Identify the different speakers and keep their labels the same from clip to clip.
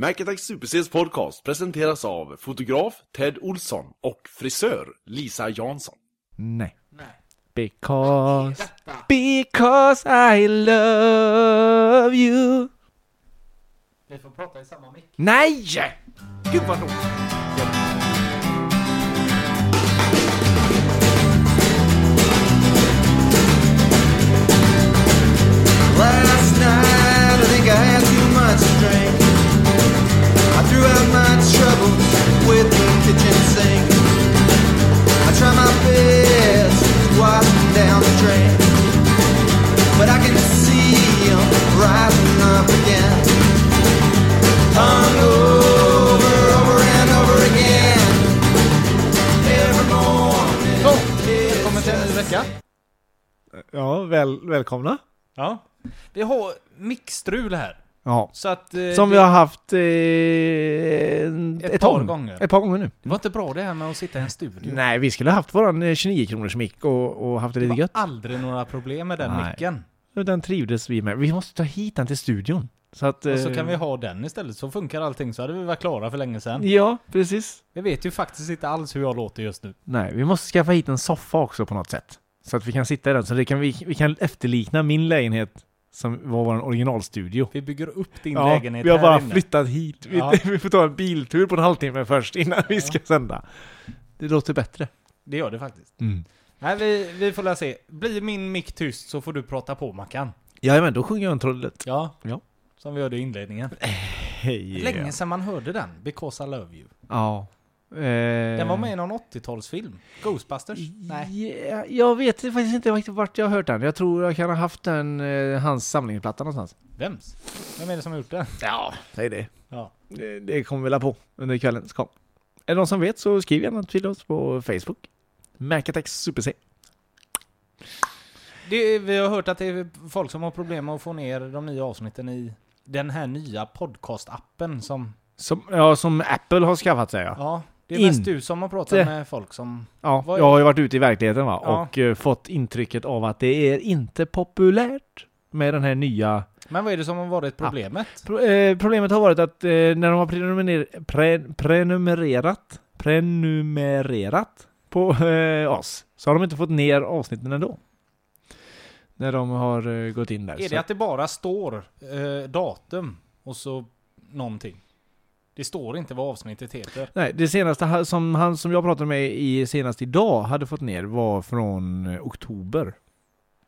Speaker 1: Macattack SuperCs podcast presenteras av fotograf Ted Olsson och frisör Lisa Jansson.
Speaker 2: Nej.
Speaker 3: Nej.
Speaker 2: Because,
Speaker 3: Detta.
Speaker 2: because I love you.
Speaker 3: Vi får prata i samma mick.
Speaker 2: Nej! Gud vad dåligt.
Speaker 4: Last night, I think I had too much to drink. I threw out my troubles with the kitchen sink. I tried my best to wash them down the drain, but I can see 'em rising up again. Hung over, over and over again. Every morning.
Speaker 3: Välkommen till en ny vecka.
Speaker 2: Ja, väl, välkomna.
Speaker 3: Ja. Vi har mickstrul här.
Speaker 2: Ja.
Speaker 3: Så att... eh,
Speaker 2: Som
Speaker 3: det,
Speaker 2: vi har haft eh,
Speaker 3: Ett par gånger.
Speaker 2: Ett par gånger nu.
Speaker 3: det var inte bra det här med att sitta i en studio.
Speaker 2: Nej, vi skulle ha haft våran eh, 29 kronors mick och, och haft det
Speaker 3: Det
Speaker 2: lite
Speaker 3: var
Speaker 2: gött.
Speaker 3: aldrig några problem med den
Speaker 2: Nej.
Speaker 3: micken.
Speaker 2: Och Den trivdes vi med. Vi måste ta hit den till studion. Så att...
Speaker 3: Och så
Speaker 2: eh,
Speaker 3: kan vi ha den istället, så funkar allting. Så hade vi varit klara för länge sedan.
Speaker 2: Ja, precis.
Speaker 3: Jag vet ju faktiskt inte alls hur jag låter just nu.
Speaker 2: Nej, vi måste skaffa hit en soffa också på något sätt. Så att vi kan sitta i den. Så det kan vi, vi kan efterlikna min lägenhet som var vår originalstudio.
Speaker 3: Vi bygger upp din
Speaker 2: Ja,
Speaker 3: lägenhet
Speaker 2: vi har
Speaker 3: här
Speaker 2: bara
Speaker 3: inne.
Speaker 2: flyttat hit. Vi,
Speaker 3: Ja.
Speaker 2: vi får ta en biltur på en halvtimme först innan vi ska sända. Det låter bättre.
Speaker 3: Det gör det faktiskt.
Speaker 2: Mm.
Speaker 3: Nej, vi, vi får la se. Blir min mick tyst så får du prata på Mackan.
Speaker 2: Jajamän, då sjunger jag en trollet.
Speaker 3: Ja.
Speaker 2: Ja.
Speaker 3: Som vi hörde i inledningen.
Speaker 2: Hej!
Speaker 3: Länge sedan man hörde den, 'Because I Love You'.
Speaker 2: Ja.
Speaker 3: Den
Speaker 2: Eh.
Speaker 3: var med i någon 80-talsfilm. Ghostbusters? Nej.
Speaker 2: Ja, jag vet faktiskt inte riktigt vart jag har hört den. Jag tror jag kan ha haft den, eh, hans samlingsplatta någonstans.
Speaker 3: Vems? Vem är det som har gjort den?
Speaker 2: Ja, säg det.
Speaker 3: Ja.
Speaker 2: Det, det kommer vi la på under kvällens kom. Är det någon som vet så skriv gärna till oss på Facebook. Macatex SuperC.
Speaker 3: Det, vi har hört att det är folk som har problem med att få ner de nya avsnitten i den här nya podcast-appen som...
Speaker 2: Som, ja, som Apple har skaffat sig ja.
Speaker 3: Ja, det är mest
Speaker 2: Inte.
Speaker 3: du som har pratat med folk som...
Speaker 2: ja
Speaker 3: Vad-
Speaker 2: jag har ju varit ute i verkligheten va?
Speaker 3: Ja.
Speaker 2: och eh, fått intrycket av att det är inte populärt med den här nya...
Speaker 3: Men vad är det som har varit problemet?
Speaker 2: Pro, eh, problemet har varit att eh, när de har prenumerer, pre, prenumererat, prenumererat på eh, oss så har de inte fått ner avsnitten ändå. När de har eh, gått in där.
Speaker 3: Är
Speaker 2: så-
Speaker 3: det att det bara står eh, datum och så någonting? Det står inte vad avsnittet heter.
Speaker 2: Nej, det senaste ha- som han som jag pratade med i senast idag hade fått ner var från eh, oktober.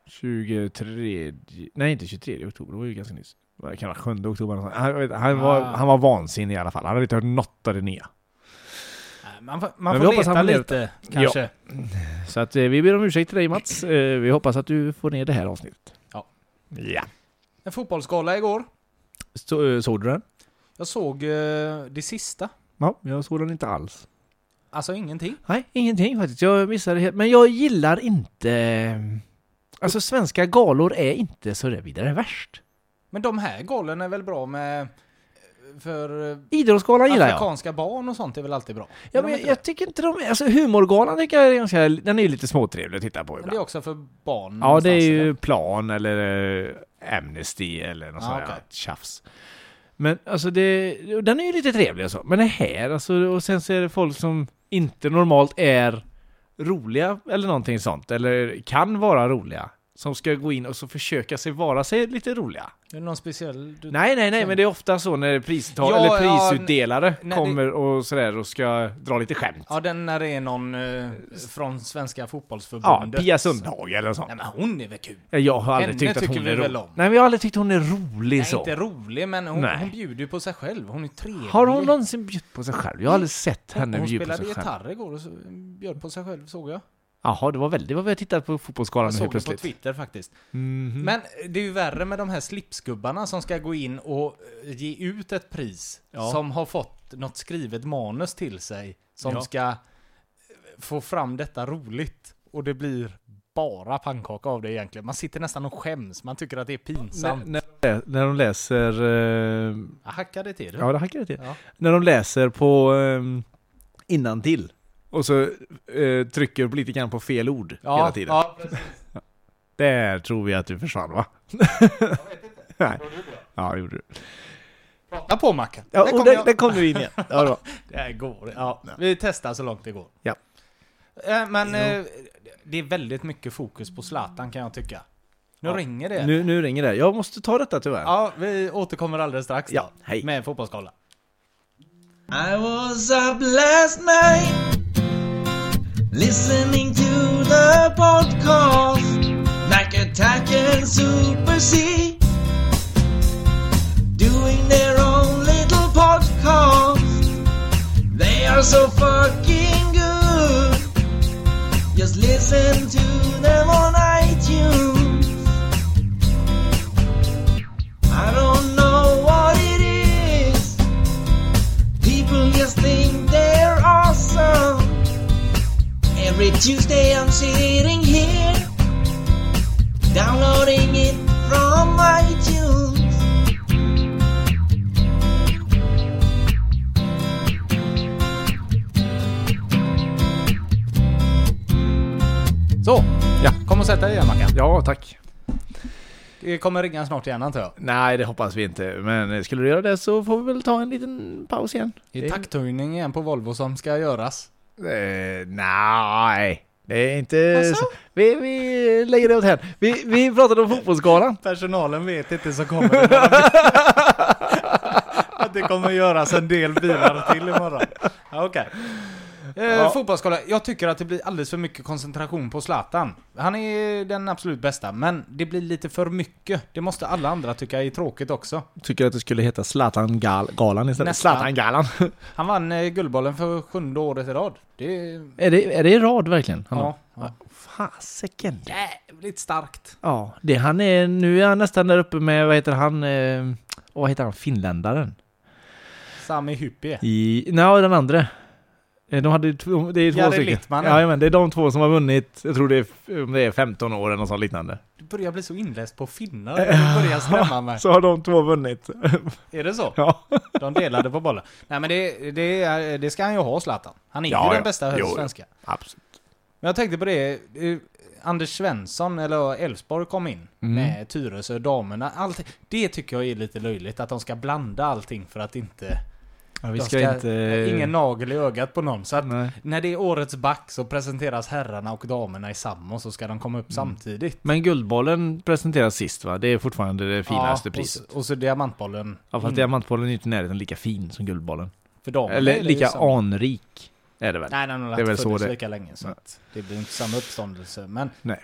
Speaker 2: 23... Nej, inte 23 oktober, det var ju ganska nyss. Det var Kanske 7 oktober. eller något sånt. Han, jag vet, han, var,
Speaker 3: Ah.
Speaker 2: han var vansinnig i alla fall. Han hade inte hört något av det nya.
Speaker 3: Nej, Man, får- man
Speaker 2: Men
Speaker 3: får
Speaker 2: vi hoppas han
Speaker 3: leta
Speaker 2: får ner
Speaker 3: lite, kanske.
Speaker 2: Så att, eh, vi ber om ursäkt till dig Mats. Eh, vi hoppas att du får ner det här avsnittet.
Speaker 3: Ja.
Speaker 2: Ja.
Speaker 3: En fotbollsgala igår.
Speaker 2: Så, eh, såg du den?
Speaker 3: Jag såg eh, det sista.
Speaker 2: Ja, jag såg den inte alls.
Speaker 3: Alltså ingenting.
Speaker 2: Nej, ingenting faktiskt. Jag missade helt. Men jag gillar inte... eh, Alltså svenska galor är inte så där vidare värst.
Speaker 3: Men de här galen är väl bra med... För eh,
Speaker 2: Idrottsgalan gillar jag.
Speaker 3: afrikanska barn och sånt är väl alltid bra?
Speaker 2: Ja,
Speaker 3: de
Speaker 2: men jag,
Speaker 3: inte
Speaker 2: jag tycker inte de... Alltså humorgalan tycker jag är ganska... Den är ju lite småtrevlig att titta på
Speaker 3: Men det är
Speaker 2: ibland.
Speaker 3: också för barn.
Speaker 2: Ja, det är
Speaker 3: någonstans,
Speaker 2: ju
Speaker 3: eller?
Speaker 2: plan eller eh, Amnesty eller något
Speaker 3: Ja,
Speaker 2: sånt där
Speaker 3: okej.
Speaker 2: tjafs. Men alltså det... Den är ju lite trevlig och så. Men det här alltså... Och sen så är det folk som inte normalt är roliga eller någonting sånt. Eller kan vara roliga. Som ska gå in och så försöka sig vara sig lite roliga.
Speaker 3: Är det någon speciell... Du...
Speaker 2: Nej, nej, nej, men det är ofta så när pristal,
Speaker 3: Ja,
Speaker 2: eller
Speaker 3: ja,
Speaker 2: prisutdelare
Speaker 3: nej, det-
Speaker 2: kommer och sådär och ska dra lite skämt.
Speaker 3: Ja, den när det är någon eh, från Svenska
Speaker 2: Ja,
Speaker 3: fotbollsförbundet.
Speaker 2: Pia Sundhage eller sånt.
Speaker 3: Nej men hon är väl kul?
Speaker 2: Ja, Jag har
Speaker 3: Henne
Speaker 2: aldrig tyckt att
Speaker 3: tycker
Speaker 2: hon
Speaker 3: vi
Speaker 2: är
Speaker 3: väl
Speaker 2: rolig.
Speaker 3: om.
Speaker 2: Nej, men jag har aldrig tyckt hon är rolig
Speaker 3: Nej,
Speaker 2: så.
Speaker 3: inte rolig, men hon,
Speaker 2: Nej.
Speaker 3: hon bjuder ju på sig själv. Hon är trevlig.
Speaker 2: Har hon någonsin bjudit på sig själv? Jag har aldrig sett
Speaker 3: Hon,
Speaker 2: henne
Speaker 3: hon
Speaker 2: bjuda på
Speaker 3: spelade
Speaker 2: sig själv.
Speaker 3: gitarr igår och så bjöd på sig själv, såg jag.
Speaker 2: Jaha, det var väldigt vad vi har tittat på fotbollsskalan
Speaker 3: Jag
Speaker 2: nu
Speaker 3: såg
Speaker 2: helt
Speaker 3: det på
Speaker 2: plötsligt.
Speaker 3: Twitter faktiskt.
Speaker 2: Mhm.
Speaker 3: Men eh, det är ju värre med de här slipsgubbarna som ska gå in och eh, ge ut ett pris.
Speaker 2: Ja.
Speaker 3: Som har fått något skrivet manus till sig. Som
Speaker 2: Ja.
Speaker 3: ska eh, få fram detta roligt. Och det blir bara pannkaka av det egentligen. Man sitter nästan och skäms. Man tycker att det är pinsamt.
Speaker 2: När, när, när de läser... eh,
Speaker 3: Jag hackade till det.
Speaker 2: ja, det hackade till.
Speaker 3: Ja.
Speaker 2: När de läser på uh, innantill. Och så eh, trycker lite grann på fel ord hela tiden.
Speaker 3: ja, precis.
Speaker 2: Där tror vi att du försvann va? Jag vet inte. Nej. Ja, det gjorde du.
Speaker 3: Prata på Mackan.
Speaker 2: Ja,
Speaker 3: Där
Speaker 2: och
Speaker 3: kom
Speaker 2: där,
Speaker 3: jag.
Speaker 2: där kom du in igen. Ja, då.
Speaker 3: Det här går ja, Vi testar så långt det går.
Speaker 2: Ja.
Speaker 3: Eh, Men eh, det är väldigt mycket fokus på Zlatan kan jag tycka. Nu
Speaker 2: Ja.
Speaker 3: ringer det.
Speaker 2: Nu, nu ringer det. Jag måste ta detta tyvärr.
Speaker 3: Ja, vi återkommer alldeles strax då,
Speaker 2: Ja, hej.
Speaker 3: med Fotbollskolla.
Speaker 4: I was up last night listening to the podcast like Attack and Super C doing their own little podcast. They are so fucking good. Just listen to them on iTunes. I don't know what it is. People just think they're awesome. Every Tuesday I'm sitting here, downloading it from iTunes.
Speaker 3: Så!
Speaker 2: Ja.
Speaker 3: Kom och sätt dig igen Mackan.
Speaker 2: Ja, tack.
Speaker 3: Det kommer ringa snart igen antar jag.
Speaker 2: Nej, det hoppas vi inte. Men eh, skulle du göra det så får vi väl ta en liten paus igen.
Speaker 3: Det är takthöjning igen på Volvo som ska göras.
Speaker 2: Eh, nej, det är inte... Vi, vi lägger det åt här. Vi, vi pratade om fotbollsskalan.
Speaker 3: Personalen vet inte så kommer det Att det kommer göras en del bilar till imorgon. Ja, Okej. Eh, Fotbollskolla, jag tycker att det blir alldeles för mycket koncentration på Zlatan. Han är den absolut bästa, men det blir lite för mycket. Det måste alla andra tycka är tråkigt också.
Speaker 2: Tycker att det skulle heta Zlatan-galan istället.
Speaker 3: Nästan.
Speaker 2: Zlatan-galan.
Speaker 3: Han vann eh, Guldbollen för sjunde året i rad. Det är...
Speaker 2: är, det, är det i rad verkligen? Han
Speaker 3: Ja, ja.
Speaker 2: Fasiken.
Speaker 3: Jävligt starkt.
Speaker 2: Ja, det han är, nu är han nästan där uppe med, vad heter han, eh, och vad heter han, finländaren?
Speaker 3: Sami Hyppie.
Speaker 2: I, nej, den andra. Eh, De hade ju två, det är två
Speaker 3: Jari
Speaker 2: stycken.
Speaker 3: Littmanen.
Speaker 2: Ja, men det är de två som har vunnit, jag tror det är, f- om det är 15 år eller något sånt liknande.
Speaker 3: Du börjar bli så inläst på finnar. Det börjar skrämma mig.
Speaker 2: Så har de två vunnit.
Speaker 3: Är det så?
Speaker 2: ja.
Speaker 3: De delade på bollen. Nej men det, det, är- det ska han ju ha Zlatan. Han är
Speaker 2: Ja,
Speaker 3: ju
Speaker 2: ja.
Speaker 3: den bästa
Speaker 2: Jo, jo.
Speaker 3: svenska.
Speaker 2: Absolut.
Speaker 3: Men jag tänkte på det, eh, Anders Svensson eller Elfsborg kom in
Speaker 2: Mm.
Speaker 3: med Tyresö, damerna. Allt, det tycker jag är lite löjligt att de ska blanda allting för att inte...
Speaker 2: Ja, vi
Speaker 3: de
Speaker 2: ska, inte...
Speaker 3: Ingen nagel i ögat på någon. Så att
Speaker 2: Nej.
Speaker 3: när det är årets back så presenteras herrarna och damerna i samma och så ska de komma
Speaker 2: Mm.
Speaker 3: upp samtidigt.
Speaker 2: Men Guldbollen presenteras sist va? Det är fortfarande det finaste
Speaker 3: Ja,
Speaker 2: priset.
Speaker 3: Och så, och så Diamantbollen.
Speaker 2: Ja, fast
Speaker 3: Mm.
Speaker 2: Diamantbollen är inte i närheten lika fin som Guldbollen.
Speaker 3: För damerna är
Speaker 2: Eller
Speaker 3: det
Speaker 2: lika
Speaker 3: ju samma.
Speaker 2: anrik är det väl?
Speaker 3: Nej, den har
Speaker 2: Det är väl
Speaker 3: inte
Speaker 2: så
Speaker 3: funnits
Speaker 2: det-
Speaker 3: lika länge så att det blir inte samma uppståndelse. Men
Speaker 2: Nej.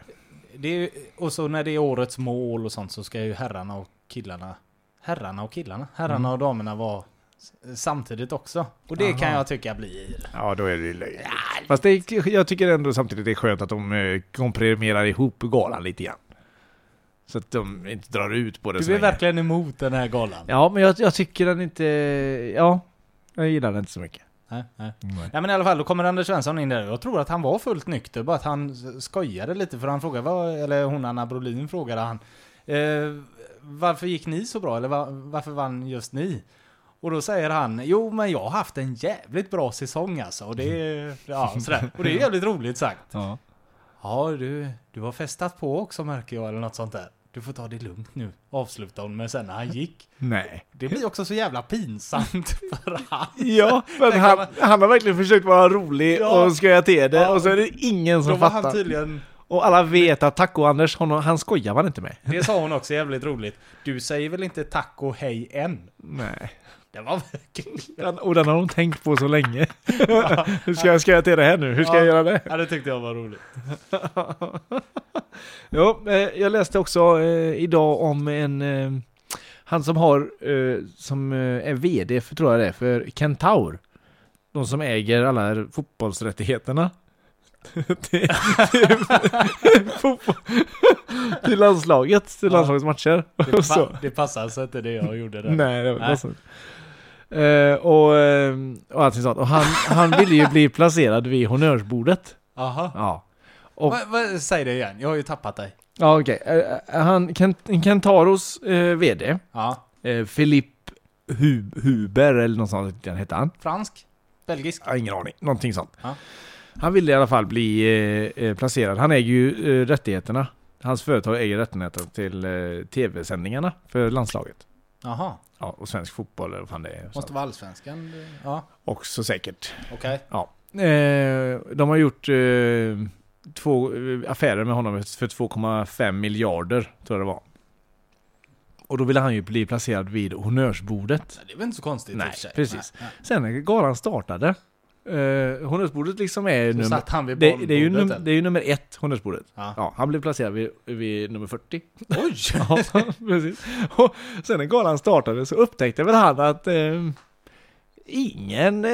Speaker 3: det är, och så när det är årets mål och sånt så ska ju herrarna och killarna, herrarna och killarna, herrarna
Speaker 2: Mm.
Speaker 3: och damerna vara s- samtidigt också. Och det kan jag tycka blir...
Speaker 2: Ja, då är det ju löjligt. Fast det är, jag tycker ändå samtidigt det är skönt att de eh, komprimerar ihop galan lite grann. Så att de inte drar ut på det så
Speaker 3: Du är
Speaker 2: länge.
Speaker 3: verkligen emot den här galan.
Speaker 2: Ja, men jag, jag tycker den inte... Ja, jag gillar den inte så mycket.
Speaker 3: Nej, nej. nej men i alla fall, då kommer Anders Svensson in där. Jag tror att han var fullt nykter, bara att han skojade lite för han frågade, vad, eller hon Anna Brolin frågade han. Eh, varför gick ni så bra? Eller va, varför vann just ni? Och då säger han, jo men jag har haft en jävligt bra säsong alltså. Och det är, ja, sådär. Och det är jävligt roligt sagt.
Speaker 2: Ja.
Speaker 3: Ja du, du har festat på också märker jag, eller något sånt där. Du får ta det lugnt nu, avslutar hon med sen när han gick.
Speaker 2: Nej.
Speaker 3: Det blir också så jävla pinsamt för han.
Speaker 2: Ja, men han, han har verkligen försökt vara rolig
Speaker 3: Ja.
Speaker 2: och skoja till det
Speaker 3: Ja.
Speaker 2: och så är det ingen
Speaker 3: Då
Speaker 2: som
Speaker 3: var han
Speaker 2: fattar.
Speaker 3: tydligen
Speaker 2: Och alla vet att Taco-Anders, honom- han skojar man inte med.
Speaker 3: Det sa hon också jävligt roligt. Du säger väl inte tack och hej än?
Speaker 2: Nej.
Speaker 3: Det var verkligen...
Speaker 2: Den, och den har hon tänkt på så länge. Hur ska jag skoja till det här nu? Hur ska jag göra det?
Speaker 3: Ja, det tyckte jag var roligt.
Speaker 2: Jo, eh, jag läste också eh, idag om en... Eh, han som har... Eh, som eh, är VD, för, tror jag det är, för Kentaur. De som äger alla fotbollsrättigheterna. till, till, fotboll- till landslaget, till
Speaker 3: Ja.
Speaker 2: landslagets matcher.
Speaker 3: Det,
Speaker 2: Och så.
Speaker 3: pa- det passar alltså inte det jag gjorde där.
Speaker 2: Nej, det var
Speaker 3: Nej.
Speaker 2: det var sant. Eh, och, eh, och allting sånt. Och han, han ville ju bli placerad vid honnörsbordet.
Speaker 3: Aha.
Speaker 2: Ja. Och,
Speaker 3: Va, va, säg det igen, jag har ju tappat dig.
Speaker 2: ja okej. Eh, han, Kent, Kentaros eh, VD,
Speaker 3: Ja.
Speaker 2: eh, Philipp Hu- Huber eller något sånt den hette han.
Speaker 3: Fransk? Belgisk?
Speaker 2: Jag har ingen aning, någonting sånt.
Speaker 3: Ja.
Speaker 2: Han ville i alla fall bli eh, eh, placerad. Han äger ju eh, rättigheterna. Hans företag äger rättigheterna till eh, tv-sändningarna för landslaget.
Speaker 3: Jaha.
Speaker 2: Ja, och svensk fotboll eller vad fan det är.
Speaker 3: Måste vara allsvenskan? Ja,
Speaker 2: Också säkert.
Speaker 3: okej.
Speaker 2: Eh, de har gjort eh, två eh, affärer med honom för 2,5 miljarder, tror jag det var. Och då ville han ju bli placerad vid honnörsbordet.
Speaker 3: Nej, Det är väl inte så konstigt i
Speaker 2: Nej,
Speaker 3: och för sig.
Speaker 2: precis.
Speaker 3: Nej,
Speaker 2: Sen när galan startade, eh, honnörsbordet liksom är
Speaker 3: nej. Så
Speaker 2: nummer...
Speaker 3: satt han vid
Speaker 2: Det, det, är ju
Speaker 3: bollbordet,
Speaker 2: num-
Speaker 3: eller?
Speaker 2: det är ju nummer ett, honnörsbordet.
Speaker 3: Ja.
Speaker 2: Ja, han blev placerad vid, vid nummer 40.
Speaker 3: Oj!
Speaker 2: Ja, precis. Och sen när galan startade så upptäckte väl han att eh, ingen eh,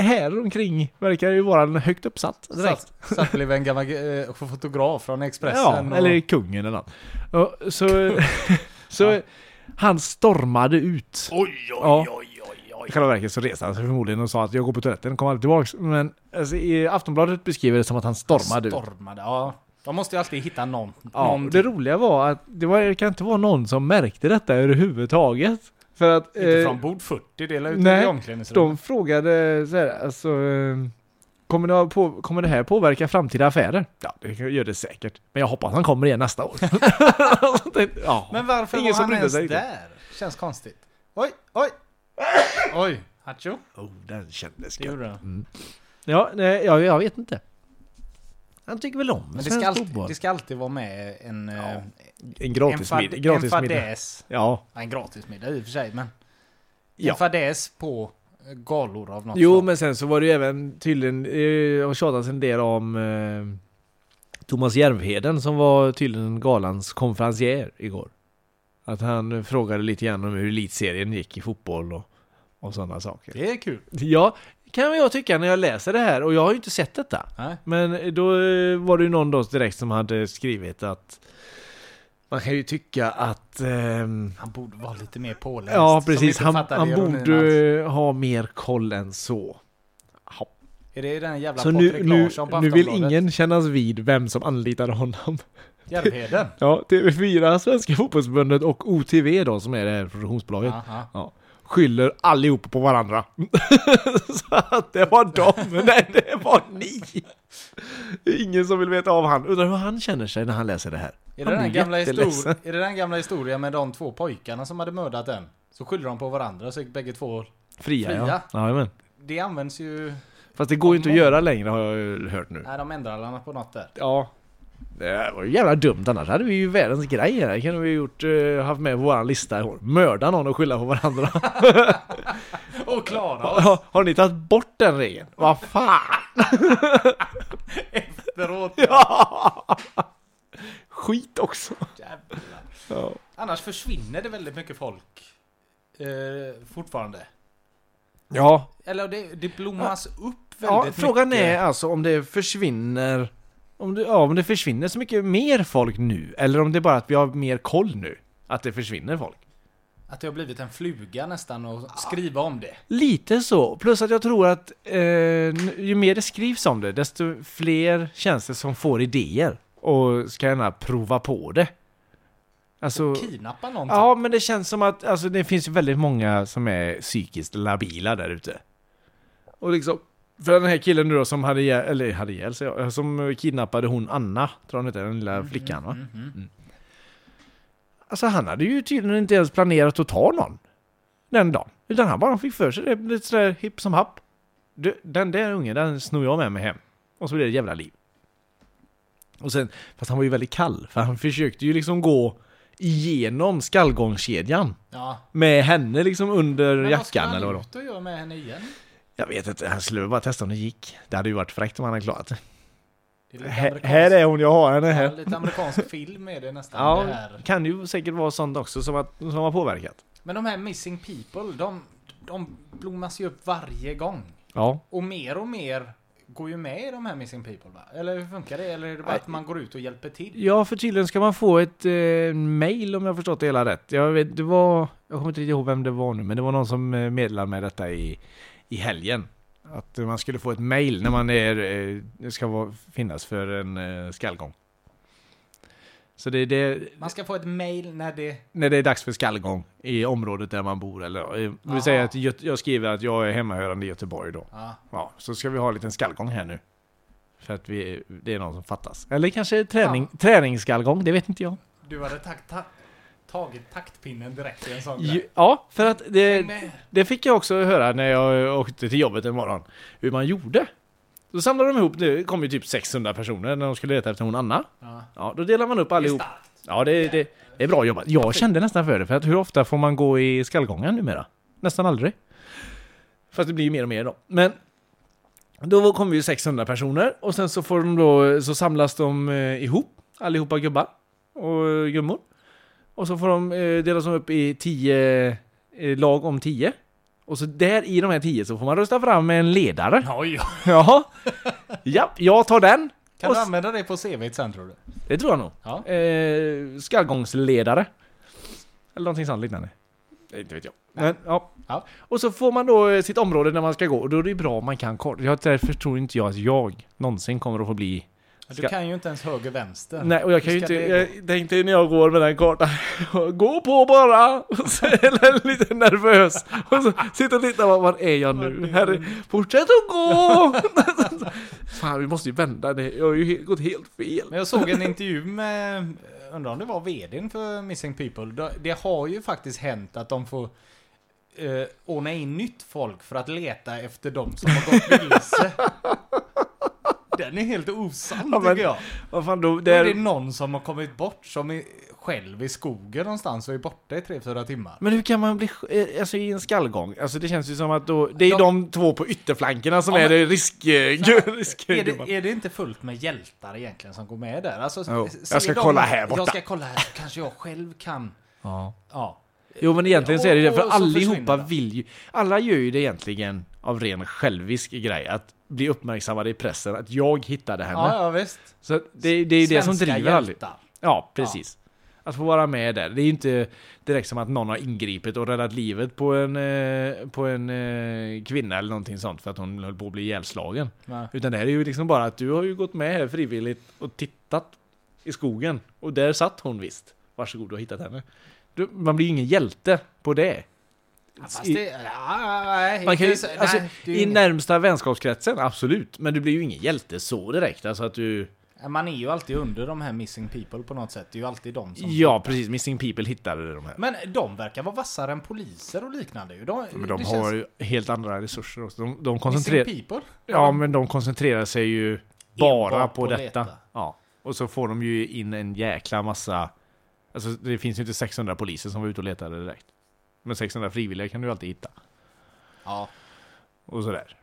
Speaker 2: här omkring verkar ju vara en högt uppsatt direkt.
Speaker 3: Satt, satt blev en gammal eh, fotograf från Expressen.
Speaker 2: Ja,
Speaker 3: och-
Speaker 2: eller kungen eller något. Och så så
Speaker 3: Ja.
Speaker 2: han stormade ut.
Speaker 1: Oj,
Speaker 2: Ja.
Speaker 1: oj, oj, oj,
Speaker 2: I
Speaker 1: oj.
Speaker 2: själva verket så reste han sig förmodligen och sa att jag går på toaletten och kommer aldrig tillbaks. Men alltså, i Aftonbladet beskriver det som att han stormade ut.
Speaker 3: Stormade, ja. De måste ju alltid hitta någon.
Speaker 2: Ja, och
Speaker 3: någon
Speaker 2: det roliga var att det, var, det kan inte vara någon som märkte detta överhuvudtaget. För att...
Speaker 3: Inte
Speaker 2: eh,
Speaker 3: från bord 40, det är ut
Speaker 2: nej,
Speaker 3: i omklädningsrummet.
Speaker 2: De frågade så här, alltså, eh, kommer det, ha på, kommer det här påverka framtida affärer? Ja, det gör det säkert. Men jag hoppas han kommer igen nästa år. Så tänkte- ja.
Speaker 3: Men varför
Speaker 2: Ingen
Speaker 3: var
Speaker 2: som
Speaker 3: han
Speaker 2: brydde
Speaker 3: ens
Speaker 2: sig riktigt.
Speaker 3: där? Känns konstigt. Oj, oj! oj, hacho.
Speaker 2: oh, den kändes
Speaker 3: Det gjorde
Speaker 2: Mm.
Speaker 3: det.
Speaker 2: Ja, nej, ja, jag vet inte. Han tycker väl om
Speaker 3: Men det
Speaker 2: svensk
Speaker 3: ska, alltid,
Speaker 2: fotboll.
Speaker 3: det ska alltid vara med en... eh,
Speaker 2: Ja, En
Speaker 3: en,
Speaker 2: gratis,
Speaker 3: fad,
Speaker 2: mid,
Speaker 3: en
Speaker 2: gratis middag.
Speaker 3: fadäs.
Speaker 2: Ja.
Speaker 3: Ja, en gratismiddag i och för sig, men...
Speaker 2: Ja.
Speaker 3: En fadäs på eh, galor av något
Speaker 2: Jo,
Speaker 3: slag.
Speaker 2: men sen så var det ju även tydligen, eh, har tjatats en del om eh, Thomas Järvheden som var tydligen galans konferencier igår. Att han frågade lite grann om hur elitserien gick i fotboll och, och sådana saker.
Speaker 3: Det är kul.
Speaker 2: Ja, kan väl jag tycka när jag läser det här och jag har ju inte sett detta.
Speaker 3: Nej.
Speaker 2: Men då eh, var det ju någon då direkt som hade skrivit att man kan ju tycka att ehm,
Speaker 3: Han borde vara lite mer påläst.
Speaker 2: Ja,
Speaker 3: som
Speaker 2: precis.
Speaker 3: inte
Speaker 2: Han,
Speaker 3: fattade
Speaker 2: han
Speaker 3: ironin
Speaker 2: borde ha mer koll än så. Ja.
Speaker 3: alls. Är det den jävla
Speaker 2: Så nu,
Speaker 3: Patrik
Speaker 2: nu,
Speaker 3: Larsson på
Speaker 2: nu vill
Speaker 3: Aftonbladet?
Speaker 2: ingen kännas vid vem som anlitade honom.
Speaker 3: Järvheden?
Speaker 2: Ja, TV4, Svenska Fotbollsförbundet och OTV då, som är det här produktionsbolaget,
Speaker 3: Aha.
Speaker 2: skyller allihop på varandra. Så att det var dem, nej det var ni! Det är Ingen som vill veta av han. Undrar hur han känner sig när han läser det här.
Speaker 3: Är det,
Speaker 2: Han
Speaker 3: den
Speaker 2: blir
Speaker 3: gamla
Speaker 2: jätteledsen.
Speaker 3: histori- är det den gamla historien med de två pojkarna som hade mördat den? Så skyller de på varandra så gick bägge två...
Speaker 2: Fria,
Speaker 3: Fria.
Speaker 2: ja. Jajamän.
Speaker 3: Det används ju...
Speaker 2: Fast det går ju inte att göra längre har jag ju hört nu.
Speaker 3: Nej, de ändrar alla på något där.
Speaker 2: Ja. Det var ju jävla dumt annars hade vi ju världens grej här. Det kunde vi gjort, eh, haft med på våran lista i år. Mörda någon och skylla på varandra.
Speaker 3: Och Klara
Speaker 2: har, har ni tagit bort den regeln? Vad fan!
Speaker 3: efteråt!
Speaker 2: Ja! Skit också.
Speaker 3: Jävlar.
Speaker 2: Ja.
Speaker 3: Annars försvinner det väldigt mycket folk. Eh, fortfarande.
Speaker 2: ja.
Speaker 3: Eller det, det blommas upp väldigt mycket.
Speaker 2: frågan är alltså om det försvinner... Om det, ja, om det försvinner så mycket mer folk nu. Eller om det är bara att vi har mer koll nu. Att det försvinner folk.
Speaker 3: Att det har blivit en fluga nästan och skriva om det.
Speaker 2: Lite så. Plus att jag tror att eh, ju mer det skrivs om det, desto fler tjänster som får idéer och ska gärna prova på det. Alltså,
Speaker 3: Kidnappa någonting.
Speaker 2: ja, men det känns som att alltså, det finns ju väldigt många som är psykiskt labila där ute. Och liksom, för den här killen nu då som hade ihjäl, eller hade ihjäl sig, ja, som kidnappade hon Anna, tror hon heter, den lilla flickan va? Mm. Alltså han hade ju tydligen inte ens planerat att ta någon den dagen. Utan han bara fick för sig det, lite sådär hipp som happ. Du, den där ungen, den snor jag med mig hem. Och så blev det ett jävla liv. Och sen, fast han var ju väldigt kall, för han försökte ju liksom gå igenom skallgångskedjan
Speaker 3: typ. Ja.
Speaker 2: med henne liksom under
Speaker 3: Men vad ska
Speaker 2: jackan
Speaker 3: han
Speaker 2: eller vadå?
Speaker 3: ut och göra med henne igen?
Speaker 2: Jag vet inte, han skulle väl bara testa om det gick. Det hade ju varit fräckt om han hade klarat det.
Speaker 3: Det är lite
Speaker 2: Här,
Speaker 3: amerikansk,
Speaker 2: här är hon, jag har henne
Speaker 3: ja,
Speaker 2: här.
Speaker 3: lite amerikansk film är det nästan. Det
Speaker 2: Ja,
Speaker 3: här.
Speaker 2: kan ju säkert vara sånt också som, att, som har påverkat.
Speaker 3: Men de här missing people, de, de blommas ju upp varje gång.
Speaker 2: Ja.
Speaker 3: Och mer och mer går ju med i de här missing people va? Eller hur funkar det? Eller är det bara
Speaker 2: Nej.
Speaker 3: att man går ut och hjälper till?
Speaker 2: Ja, för tydligen ska man få ett eh, mail om jag har förstått det hela rätt. Jag, vet, det var, jag kommer inte riktigt ihåg vem det var nu, men det var någon som eh, meddelade mig detta i, i helgen. Att eh, man skulle få ett mail när man är, eh, ska vara, finnas för en eh, skallgång. Så det är det,
Speaker 3: Man ska få ett mail när det...
Speaker 2: när det är dags för skallgång i området där man bor. Eller, eh, vi
Speaker 3: Aha.
Speaker 2: säger att Göte- jag skriver att jag är hemmahörande i Göteborg då.
Speaker 3: Ja.
Speaker 2: Ja, så ska vi ha en liten skallgång här nu. För att vi, det är någon som fattas. Eller kanske träning, träningsskallgång, det vet inte jag.
Speaker 3: Du hade tagit ta- tagit taktpinnen direkt i en sån
Speaker 2: Ju-
Speaker 3: grej.
Speaker 2: Ja, för att det,
Speaker 3: Häng med.
Speaker 2: det fick jag också höra när jag åkte till jobbet en morgon. Hur man gjorde. Då samlade de ihop, det kom ju typ 600 personer när de skulle leta efter hon Anna.
Speaker 3: Ja.
Speaker 2: Ja, då delar man upp allihop.
Speaker 3: starkt.
Speaker 2: Ja, det, det, det är bra jobbat. Jag kände nästan för det, för att hur ofta får man gå i skallgången numera? Nästan aldrig. Fast det blir ju mer och mer då. Men då kommer ju 600 personer och sen så, får de då, så samlas de eh, ihop, allihopa gubbar och gummor. Och så får de eh, delas de upp i 10 eh, lag om 10. Och så där i de här 10 så får man rösta fram en ledare.
Speaker 3: Oj.
Speaker 2: Jaha. Japp, jag tar den.
Speaker 3: Kan
Speaker 2: Och
Speaker 3: du
Speaker 2: s-
Speaker 3: använda det på CVt sen tror du?
Speaker 2: Det tror jag nog.
Speaker 3: Ja.
Speaker 2: Eh, skallgångsledare. Eller någonting sånt liknande.
Speaker 3: Eh,
Speaker 2: Det inte vet jag. Men, ja.
Speaker 3: Ja.
Speaker 2: Och så får man då eh, sitt område när man ska gå och då är det bra om man kan kort. Jag, därför tror inte jag att jag någonsin kommer att få bli...
Speaker 3: Du
Speaker 2: Ska-
Speaker 3: kan ju inte ens höger vänster.
Speaker 2: Nej, och jag kan ju
Speaker 3: Hur ska
Speaker 2: inte...
Speaker 3: det
Speaker 2: Jag tänkte när jag går med den kartan, gå på bara! Och så är jag lite nervös. Och så sitter och tittar, var- var är jag nu? Här är, fortsätt att gå! Fan, vi måste ju vända det. Jag har ju he- gått helt fel.
Speaker 3: Men jag såg en intervju med, eh, undrar om det var vdn för Missing People. Då- Det har ju faktiskt hänt att de får eh, ordna in nytt folk för att leta efter de som har gått vilse. Den är helt osann
Speaker 2: Ja, men-
Speaker 3: tycker jag.
Speaker 2: Vad fan, då,
Speaker 3: Då är
Speaker 2: där,
Speaker 3: det någon som har kommit bort som är själv i skogen någonstans och är borta i tre fyra timmar.
Speaker 2: Men hur kan man bli eh, alltså, i en skallgång? Alltså det känns ju som att då, det är
Speaker 3: De-
Speaker 2: de, två på ytterflankerna som
Speaker 3: Ja,
Speaker 2: är
Speaker 3: men-
Speaker 2: det risk... eh, risk
Speaker 3: Är det, är det inte fullt med hjältar egentligen som går med där? Alltså,
Speaker 2: Jo.
Speaker 3: ser
Speaker 2: Jag ska
Speaker 3: de-
Speaker 2: kolla här borta.
Speaker 3: Jag ska kolla här, kanske jag själv kan.
Speaker 2: ja.
Speaker 3: Ja.
Speaker 2: Jo men egentligen så är det det, för
Speaker 3: Och- och så försvinner
Speaker 2: allihopa
Speaker 3: det.
Speaker 2: vill ju... Alla gör ju det egentligen av ren självisk grej, att bli uppmärksammade i pressen, att jag hittade henne.
Speaker 3: Ja, ja visst.
Speaker 2: Så att det, det är ju det som
Speaker 3: Svenska
Speaker 2: driver allt.
Speaker 3: hjältar.
Speaker 2: Ja, precis. Att få vara med där. Det är ju inte direkt som att någon har ingripit och räddat livet på en, eh, på en eh, kvinna eller någonting sånt för att hon höll på att bli ihjälslagen.
Speaker 3: Nej.
Speaker 2: Utan det här är ju liksom bara att du har ju gått med här frivilligt och tittat i skogen. Och där satt hon visst. Varsågod, du har hittat henne. Du, man blir ju ingen hjälte på det.
Speaker 3: Fast
Speaker 2: I-
Speaker 3: det, ja, nej,
Speaker 2: Man kan ju,
Speaker 3: det är så-
Speaker 2: alltså,
Speaker 3: nej, det är ju
Speaker 2: I
Speaker 3: inget.
Speaker 2: närmsta vänskapskretsen, absolut. Men du blir ju ingen hjälte så direkt. Alltså att du...
Speaker 3: Man är ju alltid under de här missing people på något sätt. Det är ju alltid de som...
Speaker 2: Ja, precis. Missing People hittade de här.
Speaker 3: Men de verkar vara vassare än poliser och liknande ju. De,
Speaker 2: Men de
Speaker 3: det
Speaker 2: har ju helt andra resurser också. De, de
Speaker 3: Missing
Speaker 2: koncentrerar,
Speaker 3: people?
Speaker 2: ja, men de koncentrerar sig ju bara
Speaker 3: Enbart
Speaker 2: på,
Speaker 3: på
Speaker 2: detta.
Speaker 3: detta.
Speaker 2: Ja. Och så får de ju in en jäkla massa... Alltså det finns ju inte 600 poliser som var ute och letade direkt. Men 600 frivilliga kan du ju alltid hitta.
Speaker 3: Ja.
Speaker 2: Och sådär.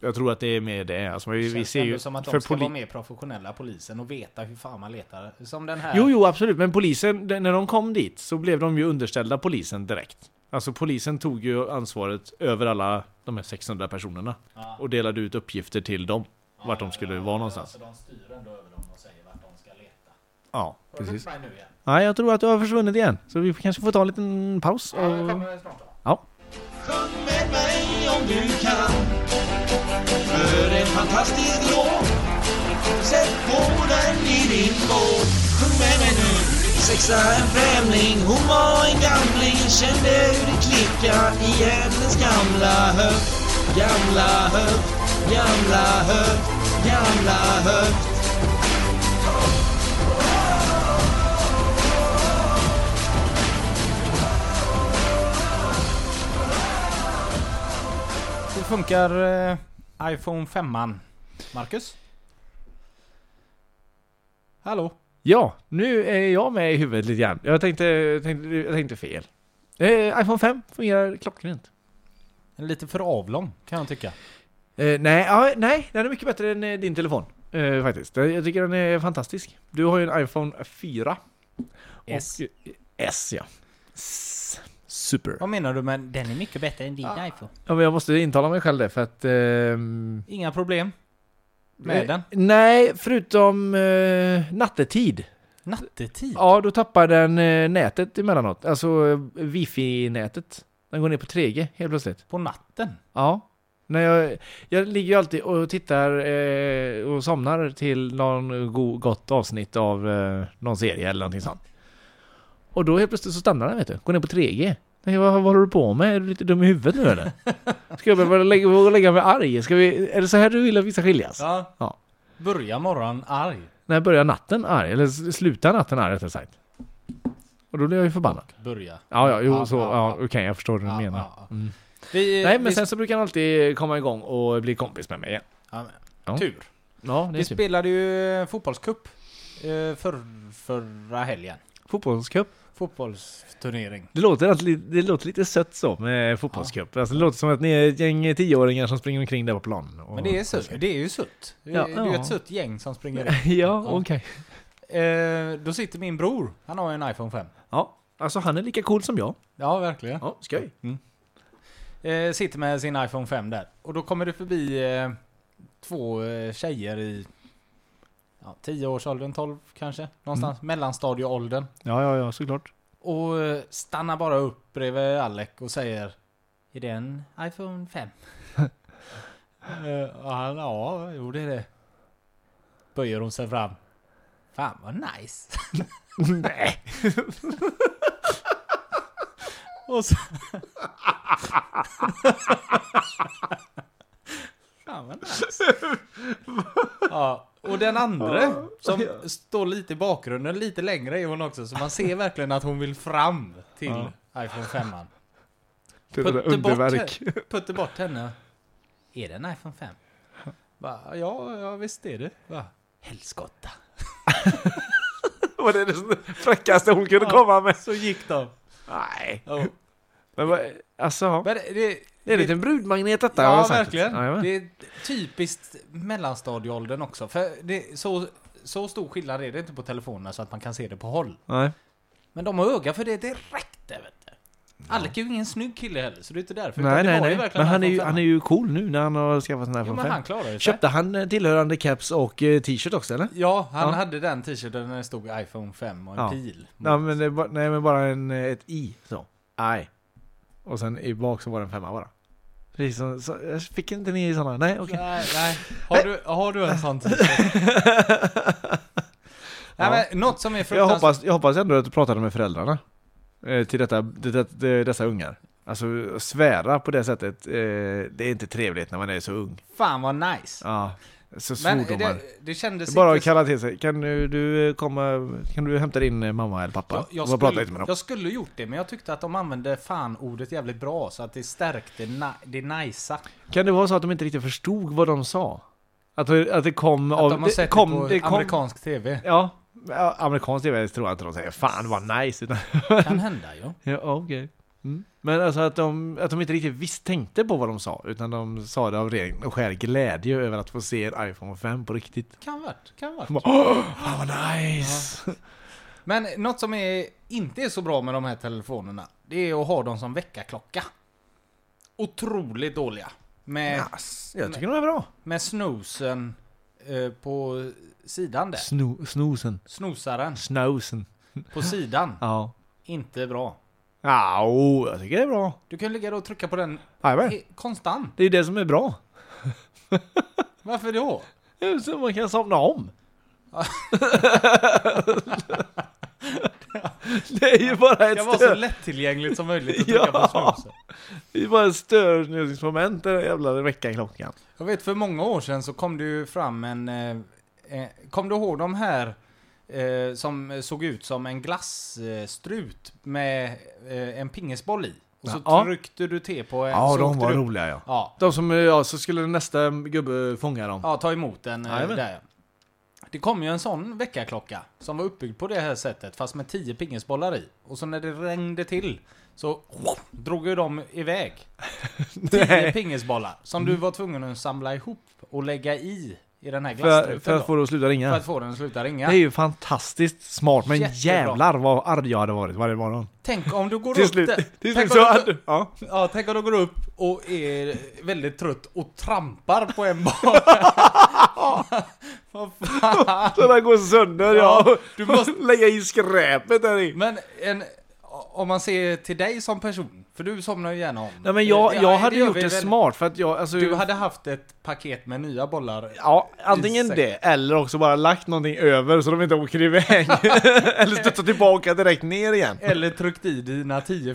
Speaker 2: Jag tror att det är mer det. Alltså, vi,
Speaker 3: Det
Speaker 2: vi
Speaker 3: känns
Speaker 2: ser ju...
Speaker 3: ändå som att de
Speaker 2: för
Speaker 3: ska
Speaker 2: poli-
Speaker 3: vara mer professionella polisen och veta hur fan man letar. Som den här.
Speaker 2: Jo, jo, absolut. Men polisen, d- när de kom dit så blev de ju underställda polisen direkt. Alltså polisen tog ju ansvaret över alla de här 600 personerna.
Speaker 3: Ja.
Speaker 2: Och delade ut uppgifter till dem. Vart de skulle vara någonstans.
Speaker 3: Alltså de styr ändå över dem och säger vart de ska leta.
Speaker 2: Ja,
Speaker 3: Har du
Speaker 2: precis.
Speaker 3: mig nu igen?
Speaker 2: Nej, jag tror att du har försvunnit igen. Så vi kanske får ta en liten paus.
Speaker 3: Ja, jag
Speaker 2: Och...
Speaker 3: kommer snart då.
Speaker 2: Ja.
Speaker 4: Sjung med mig om du kan För en fantastisk låt Sätt på den i din båt Sjung med mig nu Sexa en främling, hon var en gamling Kände hur det klicka i hennes gamla höft Gamla höft, gamla höft, gamla höft
Speaker 3: Hur funkar eh, iPhone 5an? Marcus? Hallå?
Speaker 2: ja, nu är jag med i huvudet lite grann. Jag tänkte, jag tänkte, jag tänkte fel. Eh, iPhone 5 fungerar klockrent.
Speaker 3: Den är Lite för avlång kan jag tycka.
Speaker 2: Eh, nej, ja, nej, den är mycket bättre än eh, din telefon. Eh, faktiskt. Jag jag tycker den är fantastisk. Du har ju en iPhone 4.
Speaker 3: S.
Speaker 2: Och, eh, S, ja. S. Super.
Speaker 3: Vad menar du med den är mycket bättre än din iPhone?
Speaker 2: Ja, men jag måste intala mig själv det för att... ehm,
Speaker 3: Inga problem med
Speaker 2: eh,
Speaker 3: den.
Speaker 2: Nej, förutom eh, nattetid.
Speaker 3: Nattetid?
Speaker 2: Ja, då tappar den eh, nätet emellanåt. Alltså eh, wifi-nätet. Den går ner på 3G helt plötsligt.
Speaker 3: På natten?
Speaker 2: Ja. När jag, jag ligger ju alltid och tittar eh, och somnar till någon go- gott avsnitt av eh, någon serie eller någonting sånt. Och då helt plötsligt så stannar den vet du. Går ner på 3G. Jag tänker, Vad, vad håller du på med? Är du lite dum i huvudet nu eller? Ska jag behöva lägga, våga lägga mig arg? Ska vi, är det så här du vill att vi ska skiljas?
Speaker 3: Ja.
Speaker 2: Ja.
Speaker 3: Börja morgonen arg.
Speaker 2: När börjar natten arg? Eller s- slutar natten arg rättare sagt? Och då blir jag ju förbannad.
Speaker 3: Börja.
Speaker 2: Ja, ja, jo,
Speaker 3: Ja,
Speaker 2: så,
Speaker 3: ja,
Speaker 2: ja,
Speaker 3: ja.
Speaker 2: okej, jag förstår hur du menar. Mm.
Speaker 3: ja, ja. Vi,
Speaker 2: Nej, men
Speaker 3: vi,
Speaker 2: sen så brukar han alltid komma igång och bli kompis med mig igen.
Speaker 3: Ja, men,
Speaker 2: Ja.
Speaker 3: Tur.
Speaker 2: Ja,
Speaker 3: Vi spelade ju fotbollscup eh, för, förra helgen.
Speaker 2: Fotbollscup.
Speaker 3: Fotbollsturnering.
Speaker 2: Det låter, alltid, det låter lite sött så med fotbollscup. Alltså, det låter som att ni är ett gäng tioåringar som springer omkring där på planen. och-
Speaker 3: Men det är, sutt, det är ju sutt. Det är
Speaker 2: Ja,
Speaker 3: det är ju
Speaker 2: ja.
Speaker 3: ett sutt gäng som springer in.
Speaker 2: ja, okej.
Speaker 3: Eh, då sitter min bror. Han har ju en iPhone 5.
Speaker 2: Ja, alltså han är lika cool som jag.
Speaker 3: Ja, verkligen.
Speaker 2: Ja, skoj.
Speaker 3: Eh, sitter med sin iPhone 5 där. Och då kommer det förbi eh, två eh, tjejer i ja, 10-årsåldern, 12 kanske. Någonstans. Mellanstadieåldern.
Speaker 2: Ja, ja, ja, såklart.
Speaker 3: Och eh, stannar bara upp bredvid Alec och säger Är det en iPhone 5? Eh, och han, ja, jo det är det. Böjer hon sig fram. Fan vad nice.
Speaker 2: Nej.
Speaker 3: Och så... Fan vad nice. ja, och den andra som står lite i bakgrunden, lite längre är hon också. Så man ser verkligen att hon vill fram till iPhone 5. -an.
Speaker 2: Det
Speaker 3: Putte
Speaker 2: där underverk.
Speaker 3: bort- Putte bort henne. Är det en iPhone 5? Va, ja, ja, visst är det. Va? Helskotta.
Speaker 2: Var det det fräckaste hon kunde komma med?
Speaker 3: Så gick de.
Speaker 2: Nej.
Speaker 3: Ja.
Speaker 2: Men vad, alltså, ja.
Speaker 3: Men det, det,
Speaker 2: det är en liten brudmagnet detta. har
Speaker 3: ja,
Speaker 2: jag sagt.
Speaker 3: verkligen.
Speaker 2: Ja, jajamän.
Speaker 3: det är typiskt mellanstadieåldern också. För det, så, så stor skillnad är det inte på telefonerna så att man kan se det på håll.
Speaker 2: Nej.
Speaker 3: Men de har öga för det direkt. där, Vet du. Alec är ju ingen snygg kille heller, så det är inte därför. utan
Speaker 2: Nej,
Speaker 3: det
Speaker 2: nej,
Speaker 3: var
Speaker 2: nej.
Speaker 3: verkligen
Speaker 2: Men han är,
Speaker 3: iPhone
Speaker 2: ju,
Speaker 3: 5.
Speaker 2: han är ju cool nu när han har skaffat sin
Speaker 3: Jo,
Speaker 2: iPhone
Speaker 3: men
Speaker 2: 5.
Speaker 3: han klarar ju sig.
Speaker 2: Köpte han eh, tillhörande caps och eh, t-shirt också eller?
Speaker 3: Ja, han
Speaker 2: Ja.
Speaker 3: hade den t-shirten där det stod iPhone 5 och en
Speaker 2: Ja.
Speaker 3: pil.
Speaker 2: Nej men, det, var- nej men bara en, eh, ett i så. Nej. Och sen i bak så var det en femma bara. Precis som, så, jag fick inte ni sådana? Nej okej.
Speaker 3: Nej, nej. Har, du, har du en sån t-shirt? Nej, men något som är
Speaker 2: Jag,
Speaker 3: fruktansvärt...
Speaker 2: hoppas, jag hoppas ändå att du pratade med föräldrarna. eh, Till detta, det, det, det, dessa ungar. Alltså svära på det sättet, eh, det är inte trevligt när man är så ung.
Speaker 3: Fan vad nice.
Speaker 2: Ja, så
Speaker 3: men
Speaker 2: svordomar.
Speaker 3: det, det kändes
Speaker 2: Bara att
Speaker 3: inte-
Speaker 2: kalla till sig. Kan du, du komma, kan du hämta din eh, mamma eller pappa?
Speaker 3: jag, jag,
Speaker 2: och prata
Speaker 3: skulle,
Speaker 2: lite med dem.
Speaker 3: jag skulle gjort det, men jag tyckte att de använde fan-ordet jävligt bra så att det stärkte na- det najsa.
Speaker 2: Kan det vara så att de inte riktigt förstod vad de sa? Att, att det kom
Speaker 3: Att
Speaker 2: av...
Speaker 3: de har sett det,
Speaker 2: kom,
Speaker 3: på
Speaker 2: det kom,
Speaker 3: amerikansk TV.
Speaker 2: Ja. ja, Amerikansk tv tror jag inte de säger 'Fan vad nice' utan,
Speaker 3: Kan hända ju.
Speaker 2: ja, okej. mm. Men alltså att de, att de inte riktigt visst tänkte på vad de sa Utan de sa det av ren och skär glädje över att få se en iPhone 5 på riktigt
Speaker 3: Kan varit, kan varit.
Speaker 2: de bara, "Åh, Fan vad nice!
Speaker 3: Men något som är, inte är så bra med de här telefonerna, det är att ha dem som väckarklocka. Otroligt dåliga. Med,
Speaker 2: Yes, jag tycker de är bra
Speaker 3: med snosen eh, på sidan där.
Speaker 2: Sno, Snosen
Speaker 3: Snosaren
Speaker 2: Snowsen
Speaker 3: på sidan.
Speaker 2: Ja
Speaker 3: Inte bra.
Speaker 2: Ja, oh, jag tycker det är bra
Speaker 3: Du kan ligga och trycka på den
Speaker 2: Jajamän.
Speaker 3: he- konstant.
Speaker 2: Det är ju det som är bra
Speaker 3: Varför då?
Speaker 2: Så man kan somna om. det är ju bara ett
Speaker 3: Jag var så
Speaker 2: stör,
Speaker 3: lättillgängligt som möjligt att trycka
Speaker 2: Ja.
Speaker 3: på snosen.
Speaker 2: det är bara ett störningsmoment den där jävla väckarklockan.
Speaker 3: Jag vet för många år sedan så kom det ju fram en... eh, Eh, kom du ihåg de här eh, som såg ut som en glassstrut eh, strut med eh, en pingisboll i? Och så
Speaker 2: Ja.
Speaker 3: tryckte du te på en
Speaker 2: Ja,
Speaker 3: så
Speaker 2: de
Speaker 3: åkte
Speaker 2: var
Speaker 3: du-
Speaker 2: roliga ja.
Speaker 3: Ja,
Speaker 2: De som, ja, så skulle nästa gubbe fånga dem.
Speaker 3: ja, ta emot den eh,
Speaker 2: Jajamän.
Speaker 3: där. Det kom ju en sån väckarklocka som var uppbyggd på det här sättet fast med 10 pingisbollar i. Och så när det regnde till så drog ju de iväg. 10 pingisbollar som du var tvungen att samla ihop och lägga i i den här
Speaker 2: för,
Speaker 3: glasstruten.
Speaker 2: för
Speaker 3: då.
Speaker 2: att få det att sluta
Speaker 3: För
Speaker 2: ringa.
Speaker 3: att få den att sluta
Speaker 2: Det
Speaker 3: ringa.
Speaker 2: är ju fantastiskt smart, men
Speaker 3: Jättebra.
Speaker 2: jävlar vad arg jag hade varit varje morgon.
Speaker 3: Tänk om du går
Speaker 2: Till
Speaker 3: upp
Speaker 2: slut,
Speaker 3: där-
Speaker 2: till
Speaker 3: tänk
Speaker 2: slut så
Speaker 3: om
Speaker 2: hade
Speaker 3: du,
Speaker 2: du... Ja.
Speaker 3: Ja, tänk om du går upp och är väldigt trött och trampar på en bara. Vad fan.
Speaker 2: Så den går sönder,
Speaker 3: Ja,
Speaker 2: ja.
Speaker 3: du
Speaker 2: Du
Speaker 3: måste-
Speaker 2: måste lägga i skräpet där i.
Speaker 3: Men en, om man ser till dig som person, för du somnar ju gärna om.
Speaker 2: Nej men jag,
Speaker 3: Ja,
Speaker 2: jag hade
Speaker 3: gör
Speaker 2: gjort
Speaker 3: vi
Speaker 2: det
Speaker 3: väl.
Speaker 2: smart för att jag, alltså...
Speaker 3: Du hade haft ett paket med nya bollar.
Speaker 2: Ja, antingen
Speaker 3: Isak.
Speaker 2: det, eller också bara lagt någonting över så de inte åker iväg. eller studsar tillbaka direkt ner igen.
Speaker 3: Eller tryckt i dina tio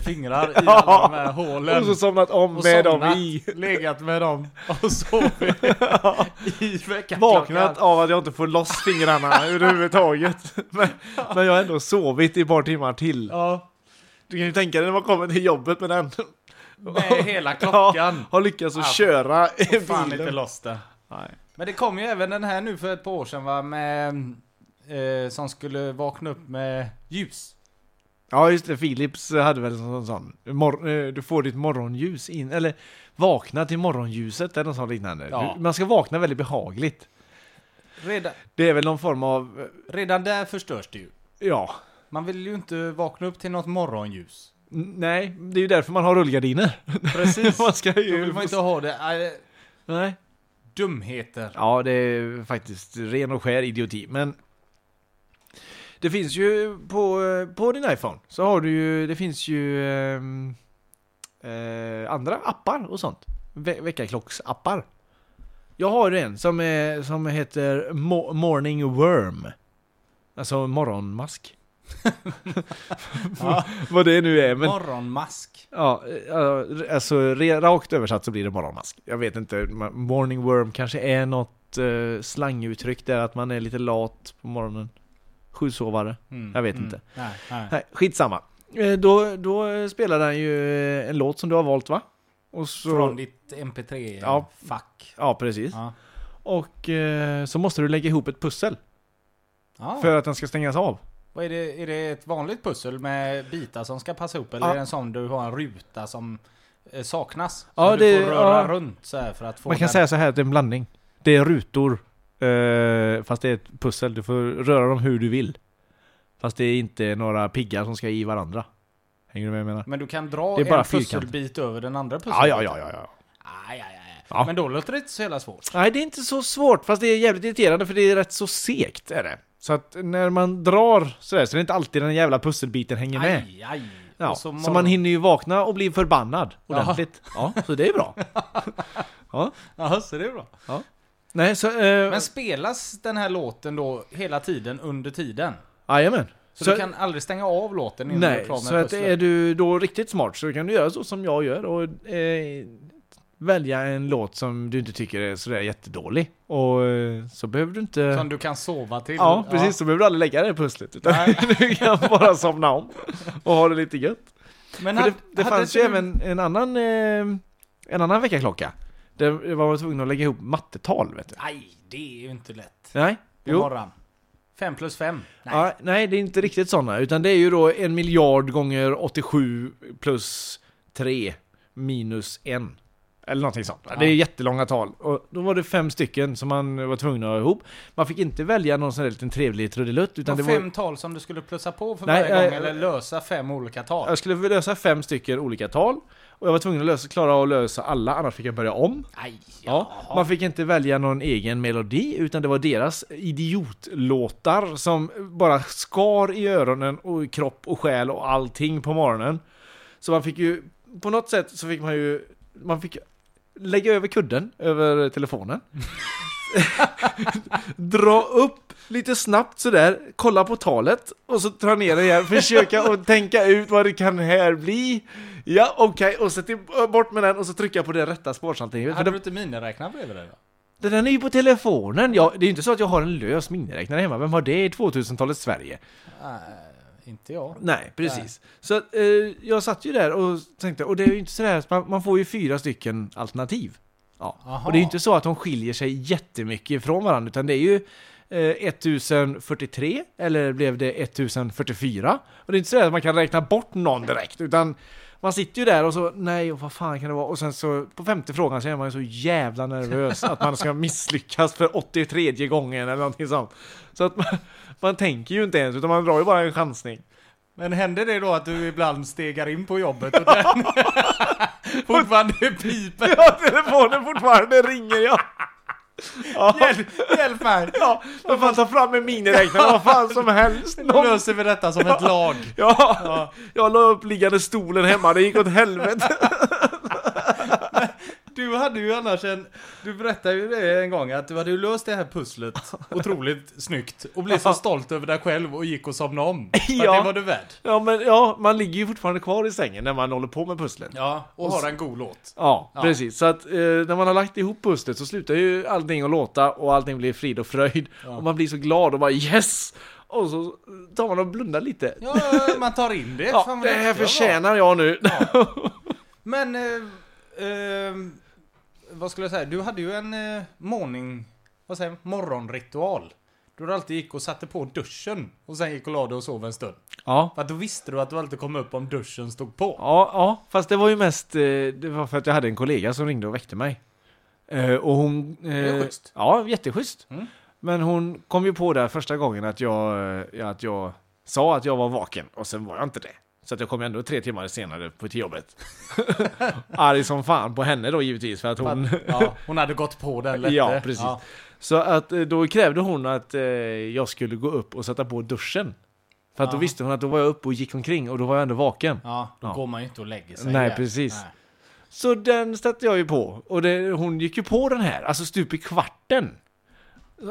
Speaker 3: fingrar i alla de här hålen.
Speaker 2: Och så somnat om
Speaker 3: Och
Speaker 2: med dem
Speaker 3: somnat,
Speaker 2: i.
Speaker 3: Legat med dem och sovit i veckan.
Speaker 2: Vaknat av att jag inte får loss fingrarna överhuvudtaget. Men, men jag har ändå sovit i ett par timmar till.
Speaker 3: Ja,
Speaker 2: Du kan ju tänka dig när man kommer till jobbet med den.
Speaker 3: med hela
Speaker 2: Ja,
Speaker 3: klockan.
Speaker 2: har lyckats att
Speaker 3: Ja,
Speaker 2: köra
Speaker 3: Och fan inte
Speaker 2: bilen.
Speaker 3: loss det.
Speaker 2: Nej.
Speaker 3: Men det kom ju även den här nu för ett par år sedan va, med... Eh, som skulle vakna upp med ljus.
Speaker 2: Ja just det, Philips hade väl en sån, sån. Mor- eh, du får ditt morgonljus in, eller vakna till morgonljuset eller något sånt liknande.
Speaker 3: Ja.
Speaker 2: Du, man ska vakna väldigt behagligt.
Speaker 3: Redan,
Speaker 2: Det är väl någon form av, eh,
Speaker 3: redan där förstörs det ju.
Speaker 2: ja,
Speaker 3: Man vill ju inte vakna upp till något morgonljus.
Speaker 2: N- nej, det är ju därför man har rullgardiner.
Speaker 3: Precis.
Speaker 2: man ska
Speaker 3: Då vill
Speaker 2: ju...
Speaker 3: man inte ha det. Äh,
Speaker 2: Nej.
Speaker 3: dumheter.
Speaker 2: Ja, det är faktiskt ren och skär idioti, men det finns ju på, eh, på din iPhone så har du ju, det finns ju ehm, eh, andra appar och sånt. Ve- Väckarklocksappar. Jag har en som, är, som heter Mo- Morning Worm. Alltså morgonmask.
Speaker 3: Ja.
Speaker 2: Vad det nu är, men
Speaker 3: Morgonmask.
Speaker 2: Ja, eh, alltså re- rakt översatt så blir det morgonmask. Jag vet inte, ma- morning worm kanske är något eh, slanguttryck där att man är lite lat på morgonen. Sjusovare.
Speaker 3: Mm,
Speaker 2: Jag vet inte.
Speaker 3: Nej, nej.
Speaker 2: Nej, skitsamma. Eh, Då, då spelar den ju eh, en låt som du har valt va? Och så,
Speaker 3: Från ditt MP3-fack.
Speaker 2: Ja. Ja, precis.
Speaker 3: Ja.
Speaker 2: Och eh, så måste du lägga ihop ett pussel
Speaker 3: Ja.
Speaker 2: för att den ska stängas av.
Speaker 3: Vad är, det, är det ett vanligt pussel med bitar som ska passa ihop? Eller
Speaker 2: Ja.
Speaker 3: är det en sån du har en ruta som eh, saknas?
Speaker 2: Ja,
Speaker 3: som
Speaker 2: det-
Speaker 3: du får röra
Speaker 2: ja.
Speaker 3: runt så här för att få
Speaker 2: Man kan
Speaker 3: den.
Speaker 2: säga så här att det är en blandning. Det är rutor, eh, fast det är ett pussel. Du får röra dem hur du vill. Fast det är inte några piggar som ska i varandra. Hänger du med vad jag menar?
Speaker 3: Men du kan dra
Speaker 2: Det är bara
Speaker 3: en
Speaker 2: fyrkant.
Speaker 3: pusselbit över den andra
Speaker 2: Ja,
Speaker 3: pusselbiten.
Speaker 2: ja, ja, ja, ja.
Speaker 3: Aj, aj, aj.
Speaker 2: Ja.
Speaker 3: Men då låter det inte så jävla svårt.
Speaker 2: Nej, det är inte så svårt. Fast det är jävligt irriterande för det är rätt så segt är det. Så att när man drar sådär så är det inte alltid den jävla pusselbiten hänger med.
Speaker 3: Aj, aj.
Speaker 2: Ja,
Speaker 3: Och
Speaker 2: så,
Speaker 3: morgon-
Speaker 2: man hinner ju vakna och bli förbannad
Speaker 3: Ja.
Speaker 2: ordentligt. Ja, så det är bra. ja.
Speaker 3: Ja, så det är bra.
Speaker 2: Nej, så... Eh,
Speaker 3: Men spelas den här låten då hela tiden under tiden?
Speaker 2: Jajamän.
Speaker 3: Så, du kan aldrig stänga av låten innan du är
Speaker 2: Nej,
Speaker 3: klar med
Speaker 2: så att
Speaker 3: pusslet?
Speaker 2: är du då riktigt smart så kan du göra så som jag gör och eh, välja en låt som du inte tycker är sådär jättedålig. Och eh, så behöver du inte...
Speaker 3: Som du kan sova till?
Speaker 2: ja, precis. Så behöver du aldrig lägga det i pusslet. Utan
Speaker 3: Nej.
Speaker 2: du kan bara somna om och ha det lite gött.
Speaker 3: Men
Speaker 2: För
Speaker 3: hade,
Speaker 2: det det
Speaker 3: hade
Speaker 2: fanns ju
Speaker 3: inte du-
Speaker 2: även en annan, eh, en annan veckaklocka. Där var man tvungen att lägga ihop mattetal, vet du.
Speaker 3: Nej, det är ju inte lätt.
Speaker 2: Nej,
Speaker 3: På
Speaker 2: jo.
Speaker 3: morgonen. Fem plus fem. Nej.
Speaker 2: Ja, nej, det är inte riktigt sådana. Utan det är ju då en miljard gånger 87 plus 3 minus 1. Eller någonting sånt. Det är jättelånga tal. Och då var det fem stycken som man var tvungen att ha ihop. Man fick inte välja någon sån där liten trevlig trudelutt. Utan
Speaker 3: Och
Speaker 2: det var...
Speaker 3: fem tal som du skulle plussa på för
Speaker 2: Nej,
Speaker 3: varje gång
Speaker 2: eh,
Speaker 3: eller lösa fem olika tal.
Speaker 2: Jag skulle lösa fem stycken olika tal. Och jag var tvungen att lösa, klara att lösa alla, annars fick jag börja om.
Speaker 3: Nej,
Speaker 2: Ja, man fick inte välja någon egen melodi, utan det var deras idiotlåtar som bara skar i öronen och i kropp och själ och allting på morgonen. Så man fick ju, på något sätt så fick man ju, man fick lägga över kudden över telefonen. dra upp lite snabbt sådär, kolla på talet och så dra ner det igen, försöka och tänka ut vad det kan här bli. Ja, okej, och så till, bort med den och så trycka på det rätta spårsalternativet. För
Speaker 3: Hade
Speaker 2: det-
Speaker 3: du inte miniräknare bredvid dig då?
Speaker 2: det Den är ju på telefonen. Jag, det är ju inte så att jag har en lös miniräknare hemma. Vem har det i 2000-talets Sverige?
Speaker 3: Nej, inte jag.
Speaker 2: Nej, precis. Så att, eh, jag satt ju där och tänkte, och det är ju inte sådär att man, man får ju fyra stycken alternativ. Ja.
Speaker 3: Aha.
Speaker 2: Och det är ju inte så att de skiljer sig jättemycket ifrån varandra, utan det är ju eh, 1043 eller blev det 1044? Och det är inte så där att man kan räkna bort någon direkt, utan man sitter ju där och så, nej, och vad fan kan det vara? Och sen så på femte frågan så är man ju så jävla nervös att man ska misslyckas för 83 gången eller någonting sånt. Så att man, man tänker ju inte ens, utan man drar ju bara en chansning.
Speaker 3: Men hände det då att du ibland stegar in på jobbet och den fortfarande piper?
Speaker 2: Ja, telefonen fortfarande ringer ja.
Speaker 3: Hjälp, hjälp mig!
Speaker 2: Ja, för fan ta fram en miniräknare, vad fan som helst.
Speaker 3: Nu löser vi detta som ett lag.
Speaker 2: Ja, jag la upp liggande stolen hemma, det gick åt helvete.
Speaker 3: Du hade ju annars en... Du berättade ju det en gång att du hade ju löst det här pusslet otroligt snyggt och blev så stolt över dig själv och gick och somnade om. För
Speaker 2: Ja.
Speaker 3: det var du värd.
Speaker 2: Ja, men ja, man ligger ju fortfarande kvar i sängen när man håller på med pusslet. Ja.
Speaker 3: Ja, och har en god låt.
Speaker 2: precis. Så att eh, när man har lagt ihop pusslet så slutar ju allting att låta och allting blir frid och fröjd. Och man blir så glad och bara yes! Och så tar man och blundar lite. Ja,
Speaker 3: Ja, man tar in det. Fan, vad
Speaker 2: det här
Speaker 3: duktig jag var.
Speaker 2: förtjänar jag nu.
Speaker 3: Men, eh, eh, vad skulle jag säga? Du hade ju en eh, morning, vad säger man, morgonritual. Då du alltid gick och satte på duschen och sen gick och la dig och sov en stund.
Speaker 2: Ja.
Speaker 3: För att då visste du att du alltid kom upp om duschen stod på.
Speaker 2: Ja, ja, fast det var ju mest eh, det var för att jag hade en kollega som ringde och väckte mig. Eh, och hon... Eh,
Speaker 3: är schysst.
Speaker 2: Ja, jätteschysst.
Speaker 3: Mm.
Speaker 2: Men hon kom ju på där första gången att jag, eh, att jag sa att jag var vaken och sen var jag inte det. Så att jag kom ändå tre timmar senare på till jobbet. Arg som fan på henne då givetvis för att hon...
Speaker 3: Ja, hon hade gått på den lätt. eh.
Speaker 2: ja, precis. Så att eh, då krävde hon att eh, jag skulle gå upp och sätta på duschen. För att då
Speaker 3: Ja.
Speaker 2: visste hon att då var jag uppe och gick omkring och då var jag ändå vaken.
Speaker 3: Ja, då
Speaker 2: Ja.
Speaker 3: går man ju inte och lägger sig.
Speaker 2: Nej,
Speaker 3: igen.
Speaker 2: precis.
Speaker 3: Nej.
Speaker 2: Så den stötte jag ju på. Och det, hon gick ju på den här, alltså stup i kvarten.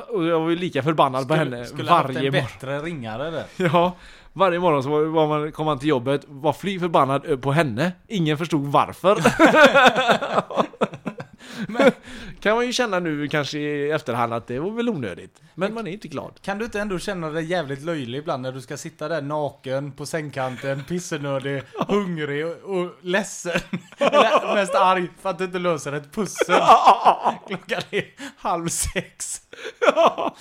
Speaker 2: Och jag var ju lika förbannad på henne
Speaker 3: Skulle haft
Speaker 2: varje
Speaker 3: en
Speaker 2: morgon.
Speaker 3: bättre ringare där.
Speaker 2: Ja, varje morgon så var, var man, kom man till jobbet, var fly förbannad ö- på henne. Ingen förstod varför. Men kan man ju känna nu kanske i efterhand att det var väl onödigt. Men man är inte glad.
Speaker 3: Kan du inte ändå känna dig jävligt löjlig ibland när du ska sitta där naken på sängkanten, pissenödig, hungrig och, och ledsen? Eller mest arg för att du inte löser ett pussel. ah, Klockan är halv sex.
Speaker 2: Ja,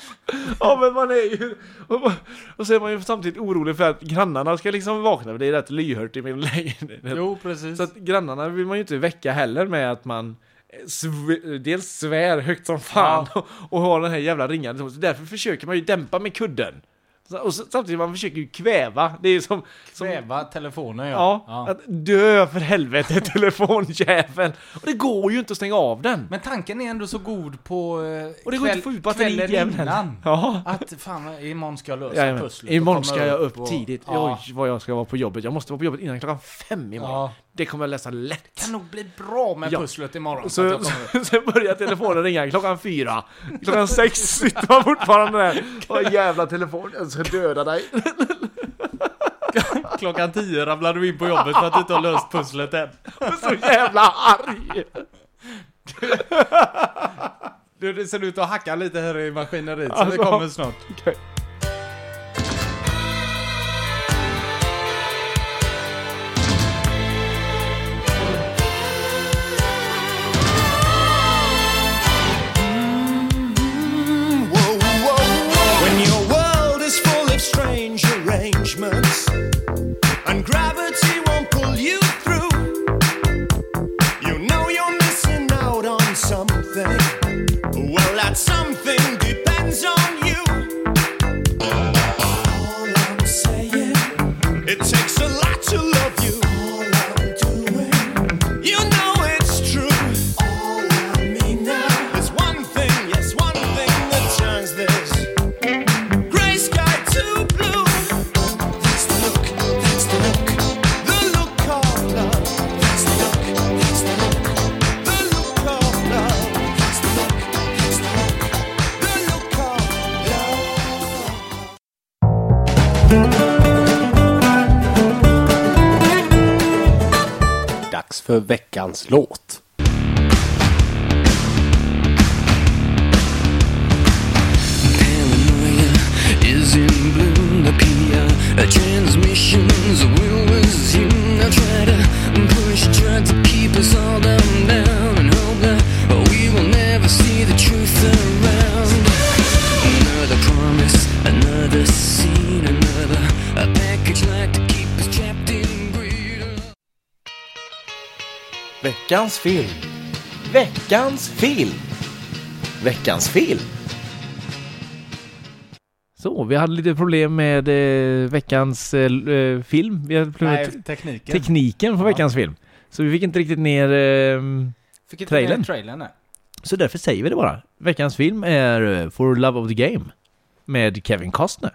Speaker 2: ja men man är ju... Och, och så är man ju samtidigt orolig för att grannarna ska liksom vakna, för det är rätt lyhört i min lägenhet.
Speaker 3: Jo, precis.
Speaker 2: Så att grannarna vill man ju inte väcka heller med att man eh, sv- dels svär högt som fan och, och har den här jävla ringande tonen. Så därför försöker man ju dämpa med kudden. Så- Och så, samtidigt man försöker ju kväva. Det är ju som... som
Speaker 3: Kväva telefonen
Speaker 2: ja,
Speaker 3: ja. ja.
Speaker 2: att dö för helvete telefonjäveln. Och det går ju inte att stänga av den.
Speaker 3: Men tanken är ändå så god på eh,
Speaker 2: Och det går inte att få ut batteriet
Speaker 3: kvällen
Speaker 2: jäveln.
Speaker 3: innan.
Speaker 2: Ja.
Speaker 3: Att fan, vad- imorgon ska jag lösa
Speaker 2: Jajamän.
Speaker 3: pusslet. och
Speaker 2: Imorgon
Speaker 3: komma
Speaker 2: ska jag upp
Speaker 3: och-
Speaker 2: tidigt.
Speaker 3: Ja.
Speaker 2: Oj, vad jag ska vara på jobbet. Jag måste vara på jobbet innan klockan fem imorgon.
Speaker 3: Ja.
Speaker 2: Det kommer jag lösa lätt.
Speaker 3: Kan nog bli bra med
Speaker 2: Ja.
Speaker 3: pusslet imorgon. Så, att
Speaker 2: Så,
Speaker 3: jag
Speaker 2: så,
Speaker 3: kommer...
Speaker 2: sen börjar telefonen ringa klockan fyra. Klockan sex sitter man fortfarande där. Åh jävla telefon, jag ska döda dig.
Speaker 3: Klockan tio ramlar du in på jobbet för att du inte har löst pusslet än.
Speaker 2: Jag är Så jävla arg.
Speaker 3: Du, det ser ut att hacka lite här i maskineriet, så
Speaker 2: Alltså.
Speaker 3: det kommer snart.
Speaker 2: Okej.
Speaker 4: Whoa, whoa, whoa. When your world is full of strange arrangements and gravity won't pull you through, you know you're missing out on something. Well, that something depends on you. All I'm saying, it takes a lot to love you. All I'm doing, you know it's true. All I mean now is one thing, yes, one thing that turns this gray sky to blue. That's the look, that's the look, the look of love. That's the look, that's the look, the look of love. That's the look, that's the look, the look of love.
Speaker 5: Dags för veckans låt.
Speaker 6: Paranoia is in bloom. The PR uh, transmissions will resume. I try to push, try to keep us all down, down, and hope that we will never see the truth around. Another promise, another scene, another a package like to keep us trapped in greed.
Speaker 7: Veckans film. Veckans film. Veckans film.
Speaker 2: Så, vi hade lite problem med eh, veckans eh, l- eh, film. Vi hade problem med te-
Speaker 3: Nej, tekniken.
Speaker 2: tekniken för veckans film. Så vi fick inte riktigt ner... Eh,
Speaker 3: Fick inte
Speaker 2: trailern.
Speaker 3: med trailern nej.
Speaker 2: Så därför säger vi det bara. Veckans film är eh, For Love of the Game med Kevin Costner.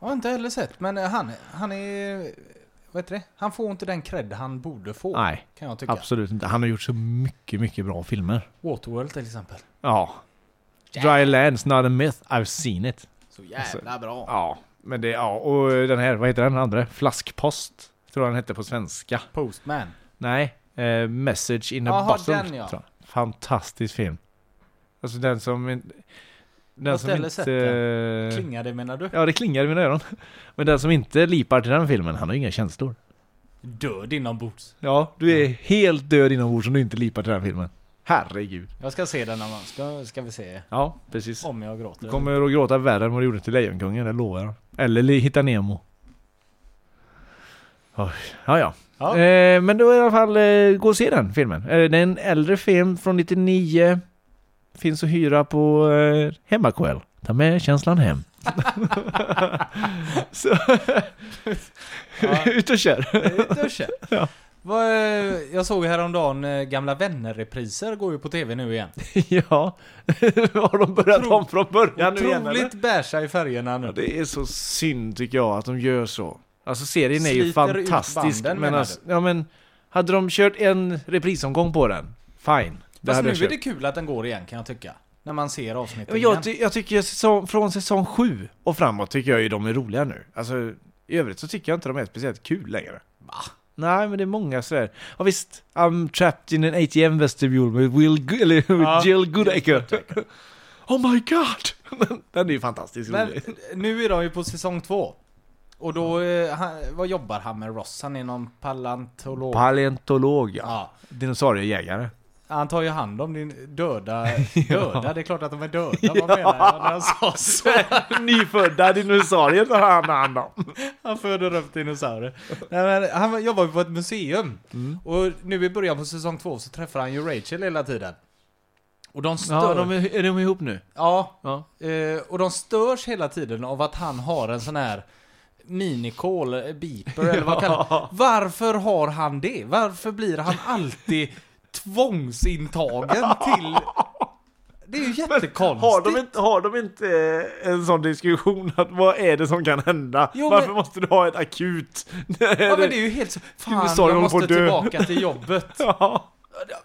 Speaker 3: Har inte heller sett, men eh, han, han är... Vad heter det? Han får inte den cred han borde få.
Speaker 2: Nej,
Speaker 3: Kan jag tycka.
Speaker 2: absolut inte. Han har gjort så mycket, mycket bra filmer.
Speaker 3: Waterworld till exempel.
Speaker 2: Ja. Dry Lands, Not a Myth, I've seen it.
Speaker 3: Så jävla bra.
Speaker 2: Alltså, Ja, men det, ja, och den här, vad heter den andra? Flaskpost, tror jag den hette på svenska.
Speaker 3: Postman.
Speaker 2: Nej, eh, Message in a
Speaker 3: Jaha,
Speaker 2: Bottle.
Speaker 3: den, ja.
Speaker 2: tror jag. Fantastisk film. Alltså den som... in- Den
Speaker 3: Måste
Speaker 2: som
Speaker 3: heller
Speaker 2: inte...
Speaker 3: sett den. Klingar det menar du?
Speaker 2: Ja, det klingar i mina öron. Men den som inte lipar till den filmen, han har inga känslor.
Speaker 3: Död inombords.
Speaker 2: Ja, du är helt död inombords om du inte lipar till den filmen. Herregud.
Speaker 3: Jag ska se den någon gång. Ska, ska vi se
Speaker 2: Ja, precis.
Speaker 3: om jag gråter.
Speaker 2: Du kommer att gråta värre än vad du gjorde till Lejonkungen, det lovar jag. Eller li- Hitta Nemo. Oj, Ja, ja.
Speaker 3: Ja.
Speaker 2: Eh, men då i alla fall, eh, gå och se den filmen. Eh, det är en äldre film från 99. Finns att hyra på eh, Hemmakväll. Ta med känslan hem. Så,
Speaker 3: Ja.
Speaker 2: ut och kör.
Speaker 3: Ut och kör. Vad, eh, Jag såg häromdagen eh, Gamla Vänner-repriser går ju på tv nu igen.
Speaker 2: ja. Har de börjat om från början nu igen eller?
Speaker 3: Otroligt bärsa i färgerna nu.
Speaker 2: Ja, det är så synd tycker jag att de gör så. Alltså serien är ju
Speaker 3: Sliter ut
Speaker 2: fantastisk.
Speaker 3: banden,
Speaker 2: men
Speaker 3: menar
Speaker 2: alltså, ja, men hade de kört en reprisomgång på den, fine. Det
Speaker 3: Fast
Speaker 2: hade jag
Speaker 3: nu är
Speaker 2: köpt.
Speaker 3: det kul att den går igen kan jag tycka. När man ser avsnittet
Speaker 2: Men jag,
Speaker 3: igen.
Speaker 2: ty- jag tycker säsong, från säsong 7 och framåt tycker jag ju de är roliga nu. Alltså i övrigt så tycker jag inte de är speciellt kul längre. Va? Nej men det är många sådär. Ja visst, I'm trapped in an ATM vestibule med Will Gu- eller, med
Speaker 3: Ja,
Speaker 2: Jill Goodacre. oh my god! den är ju fantastiskt rolig.
Speaker 3: Men nu är de ju på säsong två. Och då, eh, han, vad jobbar han med Ross? Han är någon paleontolog.
Speaker 2: Paleontolog ja.
Speaker 3: ja.
Speaker 2: Dinosauriejägare.
Speaker 3: Han tar ju hand om din döda, döda, det är klart att de är döda, vad menar jag? När jag sa så?
Speaker 2: Nyfödda dinosaurier tar han hand om.
Speaker 3: Han föder upp dinosaurier. Nej, men han jobbar ju på ett museum.
Speaker 2: Mm.
Speaker 3: Och nu i början på säsong två så träffar han ju Rachel hela tiden. Och de stör...
Speaker 2: Ja, de är, är de ihop nu?
Speaker 3: Ja,
Speaker 2: Ja.
Speaker 3: eh, och de störs hela tiden av att han har en sån här minikål, eh, beeper eller vad kallar Varför har han det? Varför blir han alltid tvångsintagen till... Det är ju jättekonstigt.
Speaker 2: Har de, inte, har de inte eh, en sån diskussion att vad är det som kan hända?
Speaker 3: Jo,
Speaker 2: Varför
Speaker 3: men-
Speaker 2: måste du ha ett akut?
Speaker 3: Ja men det är ju helt så... Fan,
Speaker 2: sa
Speaker 3: jag
Speaker 2: de på dö.
Speaker 3: måste tillbaka till jobbet.
Speaker 2: Ja.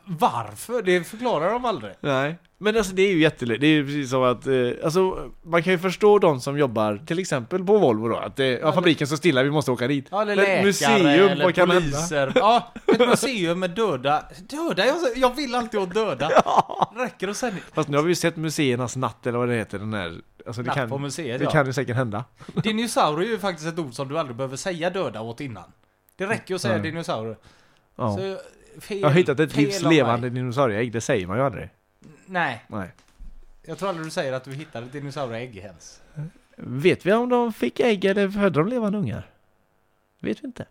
Speaker 3: Varför? Det förklarar de aldrig.
Speaker 2: Nej. Men alltså det är ju jättelöjligt. Det är ju precis som att, eh, alltså man kan ju förstå de som jobbar till exempel på Volvo då, att eh, ja, fabriken står stilla, vi måste åka dit.
Speaker 3: Ja, eller
Speaker 2: Men
Speaker 3: läkare,
Speaker 2: museum,
Speaker 3: eller
Speaker 2: vad kan hända?
Speaker 3: poliser. Ja, ett museum med döda... Döda? Jag, jag vill alltid åt döda. Räcker och sen...
Speaker 2: Fast nu har vi ju sett museernas natt eller vad det heter, den här, alltså det
Speaker 3: Natt
Speaker 2: kan,
Speaker 3: på museet,
Speaker 2: det
Speaker 3: ja.
Speaker 2: kan ju säkert hända.
Speaker 3: Dinosaurie är ju faktiskt ett ord som du aldrig behöver säga döda åt innan. Det räcker ju att säga dinosaurie.
Speaker 2: Mm. Ja.
Speaker 3: Så, fel,
Speaker 2: Jag har hittat ett
Speaker 3: fel
Speaker 2: livs
Speaker 3: av mig.
Speaker 2: levande dinosaurieägg, det säger man ju aldrig.
Speaker 3: Nej,
Speaker 2: Nej.
Speaker 3: jag tror aldrig du säger att du hittade ett dinosaurieägg ens.
Speaker 2: Vet vi om de fick ägg eller födde de levande ungar? Vet vi inte.
Speaker 3: Det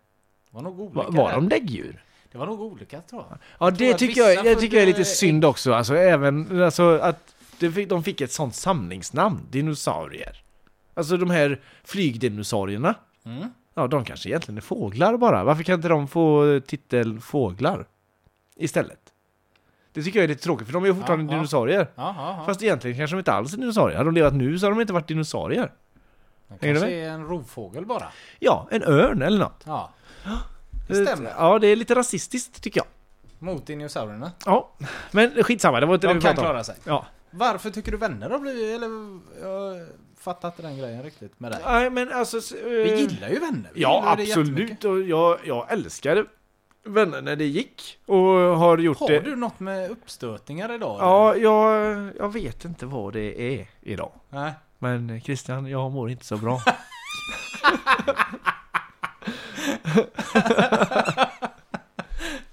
Speaker 3: var nog olika.
Speaker 2: Var, var
Speaker 3: där.
Speaker 2: de däggdjur?
Speaker 3: Det var nog olika tror jag.
Speaker 2: Ja,
Speaker 3: tror
Speaker 2: det
Speaker 3: att
Speaker 2: tycker jag,
Speaker 3: vissa
Speaker 2: jag tycker jag är
Speaker 3: födde
Speaker 2: lite synd också. Alltså även alltså, att de fick, de fick ett sånt samlingsnamn, dinosaurier. Alltså de här flygdinosaurierna. Ja, de kanske egentligen är fåglar bara. Varför kan inte de få titeln fåglar istället? Det tycker jag är lite tråkigt, för de är ju fortfarande
Speaker 3: Ja, ja.
Speaker 2: dinosaurier.
Speaker 3: Ja, ja, ja.
Speaker 2: Fast egentligen kanske de inte alls är dinosaurier. Hade de levat nu så hade de inte varit dinosaurier.
Speaker 3: Det
Speaker 2: Hänger du
Speaker 3: kanske är en rovfågel bara.
Speaker 2: Ja, en örn eller något.
Speaker 3: Ja. Det stämmer.
Speaker 2: Ja, det är lite rasistiskt tycker jag.
Speaker 3: Mot dinosaurierna.
Speaker 2: Ja, men skitsamma, det var inte det
Speaker 3: De
Speaker 2: vi
Speaker 3: kan
Speaker 2: pratade om.
Speaker 3: klara sig.
Speaker 2: Ja.
Speaker 3: Varför tycker du vänner har blivit... Eller, jag fattar inte den grejen riktigt med dig.
Speaker 2: Nej, men alltså... s-
Speaker 3: Vi
Speaker 2: eh,
Speaker 3: gillar ju vänner. Vi
Speaker 2: Ja,
Speaker 3: gillar ju det jättemycket.
Speaker 2: absolut. Och jag, jag älskade Vänner när det gick. Och har gjort
Speaker 3: Har
Speaker 2: det.
Speaker 3: du något med uppstötningar idag?
Speaker 2: Ja, jag, jag vet inte vad det är idag.
Speaker 3: eller? Nej.
Speaker 2: Men eh, Christian, jag mår inte så bra.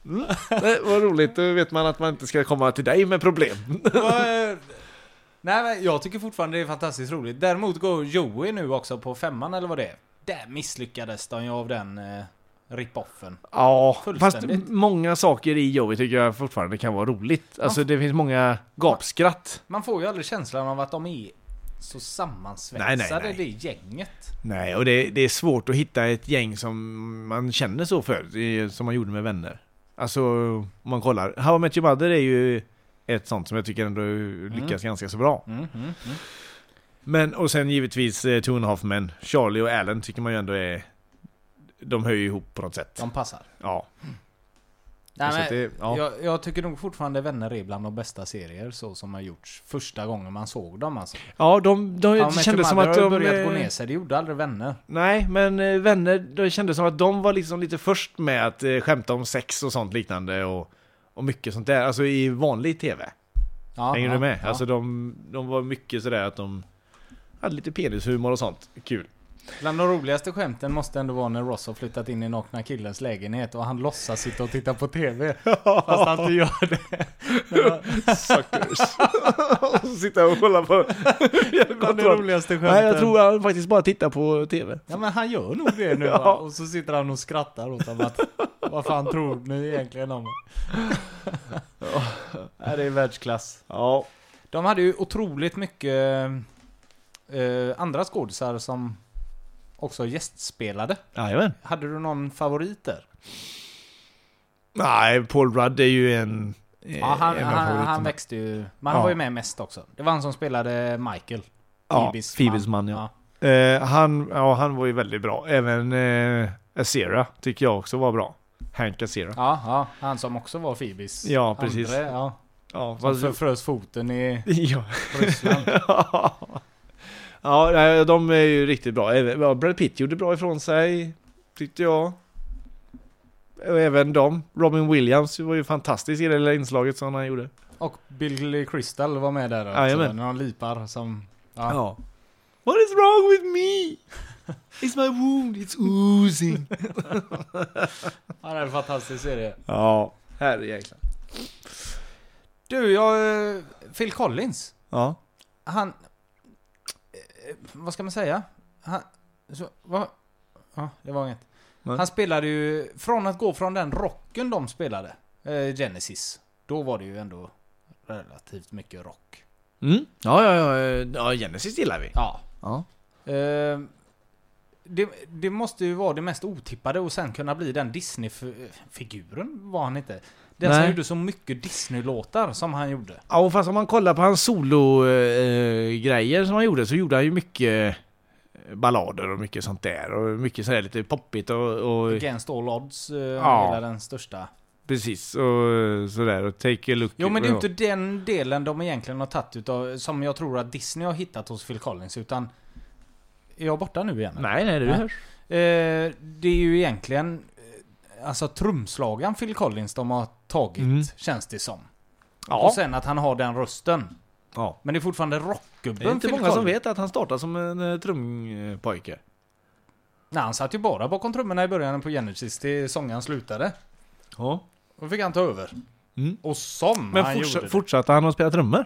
Speaker 2: Mm. Nej, vad roligt, då vet man att man inte ska komma till dig med problem.
Speaker 3: Vad- eh, Nej, men jag tycker fortfarande det är fantastiskt roligt. Däremot går Joey nu också på femman eller vad det är. Där misslyckades de ju av den eh, rip-offen.
Speaker 2: Ja, fast
Speaker 3: Fullständigt.
Speaker 2: många saker i Joey tycker jag fortfarande kan vara roligt. Alltså det finns många gapskratt.
Speaker 3: Man får ju aldrig känslan av att de är så sammansvetsade,
Speaker 2: Nej, nej, nej.
Speaker 3: det gänget.
Speaker 2: Nej, och det, det är svårt att hitta ett gäng som man känner så för, i- som man gjorde med vänner. Alltså, om man kollar. How I Met Your Mother är ju ett sånt som jag tycker ändå
Speaker 3: Mm.
Speaker 2: lyckas ganska så bra. Men och sen givetvis eh, Two and a Half Men, Charlie och Alan tycker man ju ändå är... De hör ju ihop på något sätt.
Speaker 3: De passar.
Speaker 2: Ja.
Speaker 3: Nej,
Speaker 2: Så att
Speaker 3: men,
Speaker 2: det- ja.
Speaker 3: jag, jag tycker nog fortfarande Vänner är bland de bästa serier så som har gjorts första gången man såg dem alltså.
Speaker 2: Ja, de, de,
Speaker 3: Ja,
Speaker 2: det
Speaker 3: men
Speaker 2: kändes som att
Speaker 3: har
Speaker 2: de...
Speaker 3: börjat gå
Speaker 2: eh,
Speaker 3: ner sig, det gjorde aldrig Vänner.
Speaker 2: Nej, men eh, vänner, det kändes som att de var liksom lite först med att eh, skämta om sex och sånt liknande och, och mycket sånt där. Alltså i vanlig tv.
Speaker 3: Ja,
Speaker 2: Hänger
Speaker 3: ja,
Speaker 2: du med?
Speaker 3: Ja.
Speaker 2: Alltså de, de var mycket sådär att de hade lite penishumor och sånt. Kul.
Speaker 3: Bland de roligaste skämten måste ändå vara när Ross har flyttat in i nakna killens lägenhet och han låtsas sitta och titta på TV. Fast han inte gör det.
Speaker 2: Suckers. och så sitter jag och kollar på
Speaker 3: Bland de
Speaker 2: kontroll.
Speaker 3: roligaste skämten.
Speaker 2: Nej, jag tror han faktiskt bara tittar på tv.
Speaker 3: Ja men han gör nog det nu va?
Speaker 2: Ja.
Speaker 3: Och så sitter han och skrattar åt honom att Vad fan tror ni egentligen om? ja, det är världsklass.
Speaker 2: Ja.
Speaker 3: De hade ju otroligt mycket eh, andra skådisar som också gästspelade.
Speaker 2: Jajamän.
Speaker 3: Hade du någon favorit där?
Speaker 2: Nej, Paul Rudd är ju en... eh,
Speaker 3: Ja, han,
Speaker 2: en av
Speaker 3: han, han
Speaker 2: favoriterna.
Speaker 3: växte ju. Men han
Speaker 2: Ja.
Speaker 3: var ju med mest också. Det var han som spelade Michael.
Speaker 2: Ja,
Speaker 3: Phoebes
Speaker 2: Phoebes man, ja. Eh, han, ja, han var ju väldigt bra. Även eh, Azera tycker jag också var bra. Hank Azera.
Speaker 3: Ja, ja, han som också var Phoebes.
Speaker 2: Ja, precis.
Speaker 3: Andre, ja.
Speaker 2: Ja,
Speaker 3: Som
Speaker 2: fast-
Speaker 3: frös foten i
Speaker 2: ja.
Speaker 3: Ryssland.
Speaker 2: ja, nej, de är ju riktigt bra. Även, ja, Brad Pitt gjorde bra ifrån sig, tyckte jag. Och även de. Robin Williams var ju fantastisk i det lilla inslaget som han gjorde.
Speaker 3: Och Billy Crystal var med där också.
Speaker 2: Jajamän.
Speaker 3: När de lipar som... Ja.
Speaker 2: Ja. What is wrong with me? It's my wound, it's oozing.
Speaker 3: ja, det är en fantastisk serie.
Speaker 2: ja, herrejäklar.
Speaker 3: Du, jag... eh, Phil Collins.
Speaker 2: Ja.
Speaker 3: Han... eh, Vad ska man säga? Han... Så, vad... Ja, det var inget.
Speaker 2: Nej.
Speaker 3: Han spelade ju... Från att gå från den rocken de spelade, eh, Genesis, då var det ju ändå relativt mycket rock.
Speaker 2: Mm. Ja, ja, ja, eh, ja, Genesis gillar vi.
Speaker 3: Ja.
Speaker 2: Ja.
Speaker 3: Eh, det, det måste ju vara det mest otippade och sen kunna bli den Disney-figuren var han inte. Den som
Speaker 2: Nej.
Speaker 3: gjorde så mycket Disney-låtar som han gjorde.
Speaker 2: Ja, och fast om man kollar på hans solo-grejer eh, grejer som han gjorde så gjorde han ju mycket eh, ballader och mycket sånt där och mycket sådär lite poppigt och, och
Speaker 3: Against All Odds eh,
Speaker 2: Ja.
Speaker 3: är den största.
Speaker 2: precis och eh, sådär och take a look.
Speaker 3: Jo men det är ju inte den delen de egentligen har tagit utav, som jag tror att Disney har hittat hos Phil Collins utan... Är jag borta nu igen? eller?
Speaker 2: Nej, nej, du
Speaker 3: Nej.
Speaker 2: hörs.
Speaker 3: Eh, det är ju egentligen... eh, Alltså trumslagan Phil Collins de har tagit,
Speaker 2: Mm.
Speaker 3: känns det som.
Speaker 2: Ja.
Speaker 3: Och sen att han har den rösten.
Speaker 2: ja.
Speaker 3: Men det är fortfarande
Speaker 2: Det är
Speaker 3: rockgubben
Speaker 2: inte
Speaker 3: Phil
Speaker 2: många som
Speaker 3: Collins.
Speaker 2: vet att han startade som en eh, trumpojke.
Speaker 3: Nej, han satt ju bara bakom trummorna i början på Genesis till sångaren slutade.
Speaker 2: Ja.
Speaker 3: Då fick han ta över.
Speaker 2: Mm.
Speaker 3: Och som
Speaker 2: Men
Speaker 3: han
Speaker 2: forts-
Speaker 3: gjorde det.
Speaker 2: fortsatte han att spela trummor?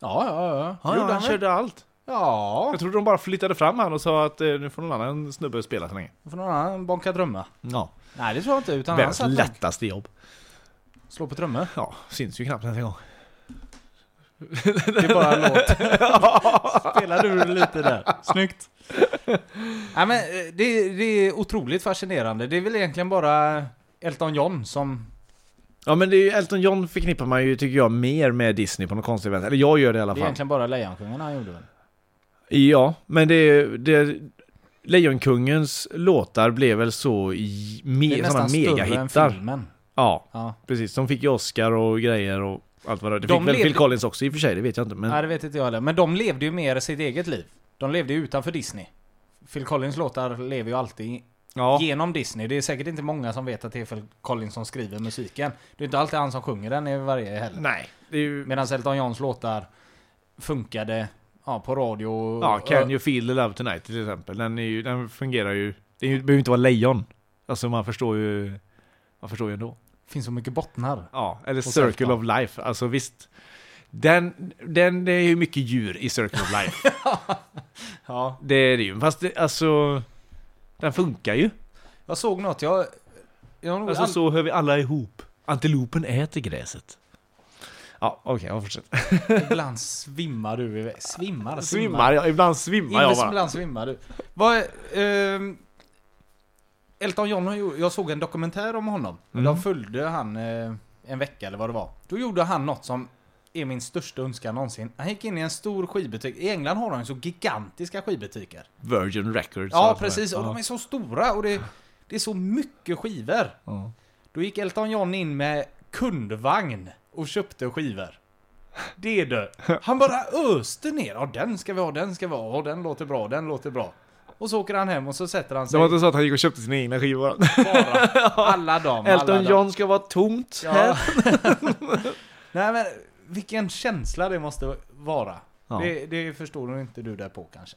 Speaker 3: Ja, ja, ja.
Speaker 2: Ja,
Speaker 3: Gjorde
Speaker 2: ja, han
Speaker 3: väl?
Speaker 2: körde allt.
Speaker 3: Ja,
Speaker 2: Jag trodde de bara flyttade fram han och sa att eh, nu får någon annan snubbe spela så länge.
Speaker 3: då får någon annan bonka trumma.
Speaker 2: Ja.
Speaker 3: Nej, det tror jag inte. Utan han
Speaker 2: Världens
Speaker 3: satt lätt.
Speaker 2: lättaste jobb.
Speaker 3: slå på trummor.
Speaker 2: Ja, syns ju knappt ens en gång.
Speaker 3: Det är bara låt. Spelar du lite där? Snyggt. Nej, men eh, det, det är otroligt fascinerande. Det är väl egentligen bara Elton John som...
Speaker 2: Ja men det är ju, Elton John förknippar man ju tycker jag mer med Disney på något konstigt vänster. Eller jag gör det i alla
Speaker 3: Det är
Speaker 2: fall.
Speaker 3: egentligen bara Lejonkungen han gjorde väl?
Speaker 2: Ja, men det, är- det är- Lejonkungens låtar blev väl så i-
Speaker 3: Det är
Speaker 2: me, sådana
Speaker 3: nästan större än
Speaker 2: megahittar.
Speaker 3: filmen.
Speaker 2: Ja,
Speaker 3: Ja.
Speaker 2: precis. De fick ju Oscar och grejer och allt vad det Det
Speaker 3: De
Speaker 2: fick väl
Speaker 3: levde-
Speaker 2: Phil Collins också i och för sig, det vet jag inte. Men
Speaker 3: Nej, det vet inte jag heller. Men de levde ju mer sitt eget liv. De levde ju utanför Disney. Phil Collins låtar lever ju alltid
Speaker 2: ja,
Speaker 3: genom Disney. Det är säkert inte många som vet att det är Phil Collins som skriver musiken. Det är inte alltid han som sjunger den i varje heller.
Speaker 2: nej. Det är ju...
Speaker 3: Medan Elton Johns låtar funkade ja, på radio och...
Speaker 2: Ja, Can You Feel The Love Tonight till exempel. Den, är ju, den fungerar ju. Det är ju- det behöver ju inte vara lejon. Alltså man förstår ju... Man förstår ju ändå.
Speaker 3: Det finns så mycket bottnar.
Speaker 2: Ja, eller
Speaker 3: sälta.
Speaker 2: Circle of Life. Alltså visst. Den, den, det är ju mycket djur i Circle of Life.
Speaker 3: Ja.
Speaker 2: det är det ju. Fast det, alltså... Den funkar ju.
Speaker 3: Jag såg något, jag... jag har nog
Speaker 2: Alltså
Speaker 3: aldrig-
Speaker 2: så hör vi alla ihop. Antilopen äter gräset. Ja, okej, jag fortsätter.
Speaker 3: Ibland svimmar du iväg. Svimmar?
Speaker 2: Svimmar jag? Ibland svimmar jag bara.
Speaker 3: Ibland svimmar du. Vad... ehm, Elton John, har ju- jag såg en
Speaker 2: Mm.
Speaker 3: dokumentär om honom. De följde han eh, en vecka eller vad det var. Då gjorde han något som är min största önskan någonsin. Han gick in i en stor skivbutik. I England har de ju så gigantiska skivbutiker.
Speaker 2: Virgin Records. alltså. och
Speaker 3: Ja,
Speaker 2: allt
Speaker 3: precis.
Speaker 2: vad
Speaker 3: Och
Speaker 2: det
Speaker 3: de är så stora och det, det är så mycket skivor.
Speaker 2: Ja.
Speaker 3: Då gick Elton John in med kundvagn och köpte skivor. Det är du. Han bara öste ner. Ja, den ska vi ha, den ska vi ha, Ja, den låter bra, den låter bra. Och så åker han hem och så sätter han
Speaker 2: Det
Speaker 3: sig
Speaker 2: var inte så att han gick och köpte sina egna skivor.
Speaker 3: bara. Alla dem, alla
Speaker 2: Elton
Speaker 3: dem.
Speaker 2: John ska vara tomt
Speaker 3: Ja.
Speaker 2: här.
Speaker 3: Nej men, vilken känsla det måste vara.
Speaker 2: Ja.
Speaker 3: Det, det förstår nog inte du där på kanske.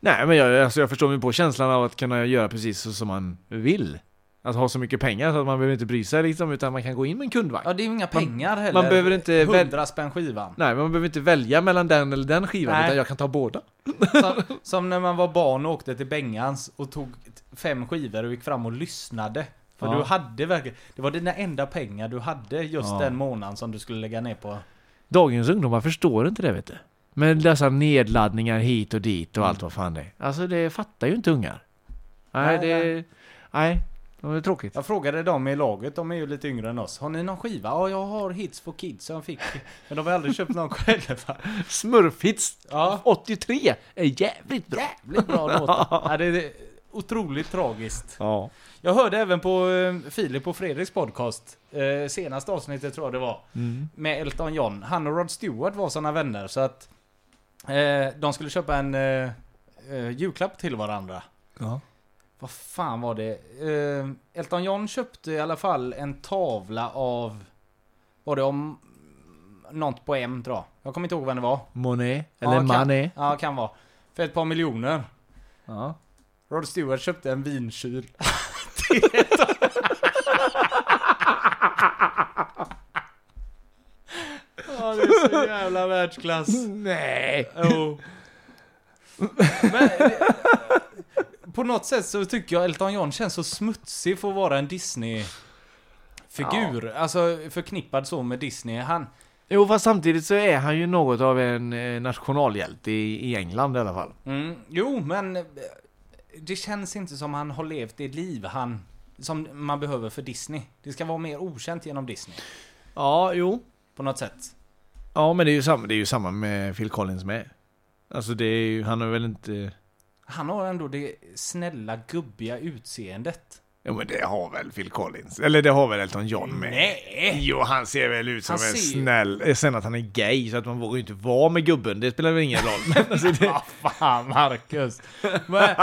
Speaker 2: Nej, men jag, alltså, jag förstår mig på känslan av att kunna göra precis så som man vill. Att ha så mycket pengar så att man behöver inte bry sig liksom, utan man kan gå in med en kundvagn.
Speaker 3: Ja, det är ju inga
Speaker 2: Man-
Speaker 3: pengar heller.
Speaker 2: man behöver inte väl-
Speaker 3: 100 spänn skivan.
Speaker 2: Nej, men man behöver inte välja mellan den eller den skivan,
Speaker 3: Nej.
Speaker 2: utan jag kan ta båda.
Speaker 3: Som, som när man var barn och åkte till Bengans och tog t- fem skivor och gick fram och lyssnade. För
Speaker 2: Ja.
Speaker 3: du hade verkligen, det var dina enda pengar du hade just
Speaker 2: Ja.
Speaker 3: den månaden som du skulle lägga ner på.
Speaker 2: Dagens ungdomar förstår inte det, vet du. Med dessa nedladdningar hit och dit och allt vad fan det är. Alltså, det fattar ju inte ungar. Nej,
Speaker 3: Nej,
Speaker 2: det... Nej, det är tråkigt.
Speaker 3: Jag frågade dem i laget, de är ju lite yngre än oss. Har ni någon skiva? Ja, jag har Hits for Kids som jag fick. Men de har aldrig köpt någon själva.
Speaker 2: Smurfhits
Speaker 3: Ja,
Speaker 2: 83 är jävligt bra.
Speaker 3: jävligt bra låtar. Ja, det är otroligt tragiskt.
Speaker 2: Ja.
Speaker 3: Jag hörde även på eh, Filip och Fredriks podcast, eh, senaste avsnittet tror jag det var, med Elton John. Han och Rod Stewart var såna vänner så att eh, de skulle köpa en eh, eh, julklapp till varandra.
Speaker 2: Ja.
Speaker 3: Vad fan var det? Eh, Elton John köpte i alla fall en tavla av, var det om något på M tror jag. Jag kommer inte ihåg vem det var.
Speaker 2: Monet,
Speaker 3: Ja,
Speaker 2: eller
Speaker 3: kan-
Speaker 2: Manet.
Speaker 3: Ja, kan vara. För ett par miljoner.
Speaker 2: Ja.
Speaker 3: Rod Stewart köpte en vinkyl. ja, det är så jävla världsklass.
Speaker 2: Nej!
Speaker 3: Jo. Men, eh, på något sätt så tycker jag Elton John känns så smutsig för att vara en Disney-figur. Alltså förknippad så med Disney. Han,
Speaker 2: Jo, fast samtidigt så är han ju något av en eh, nationalhjälte i, i England i alla fall.
Speaker 3: Mm, jo, men eh, det känns inte som han har levt det liv han som man behöver för Disney. Det ska vara mer okänt genom Disney
Speaker 2: Ja, jo.
Speaker 3: på något sätt.
Speaker 2: Ja, men det är ju samma, det är ju samma med Phil Collins med. Alltså det är ju, han har väl inte...
Speaker 3: Han har ändå det snälla gubbiga utseendet.
Speaker 2: Jo men det har väl Phil Collins? Eller det har väl Elton John med?
Speaker 3: Nej!
Speaker 2: Jo, han ser väl ut som
Speaker 3: Han
Speaker 2: en
Speaker 3: ser ju-
Speaker 2: snäll... eh, Sen att han är gay, så att man vågar ju inte vara med gubben, det spelar väl ingen roll. Men alltså det...
Speaker 3: Vad fan Marcus! Men,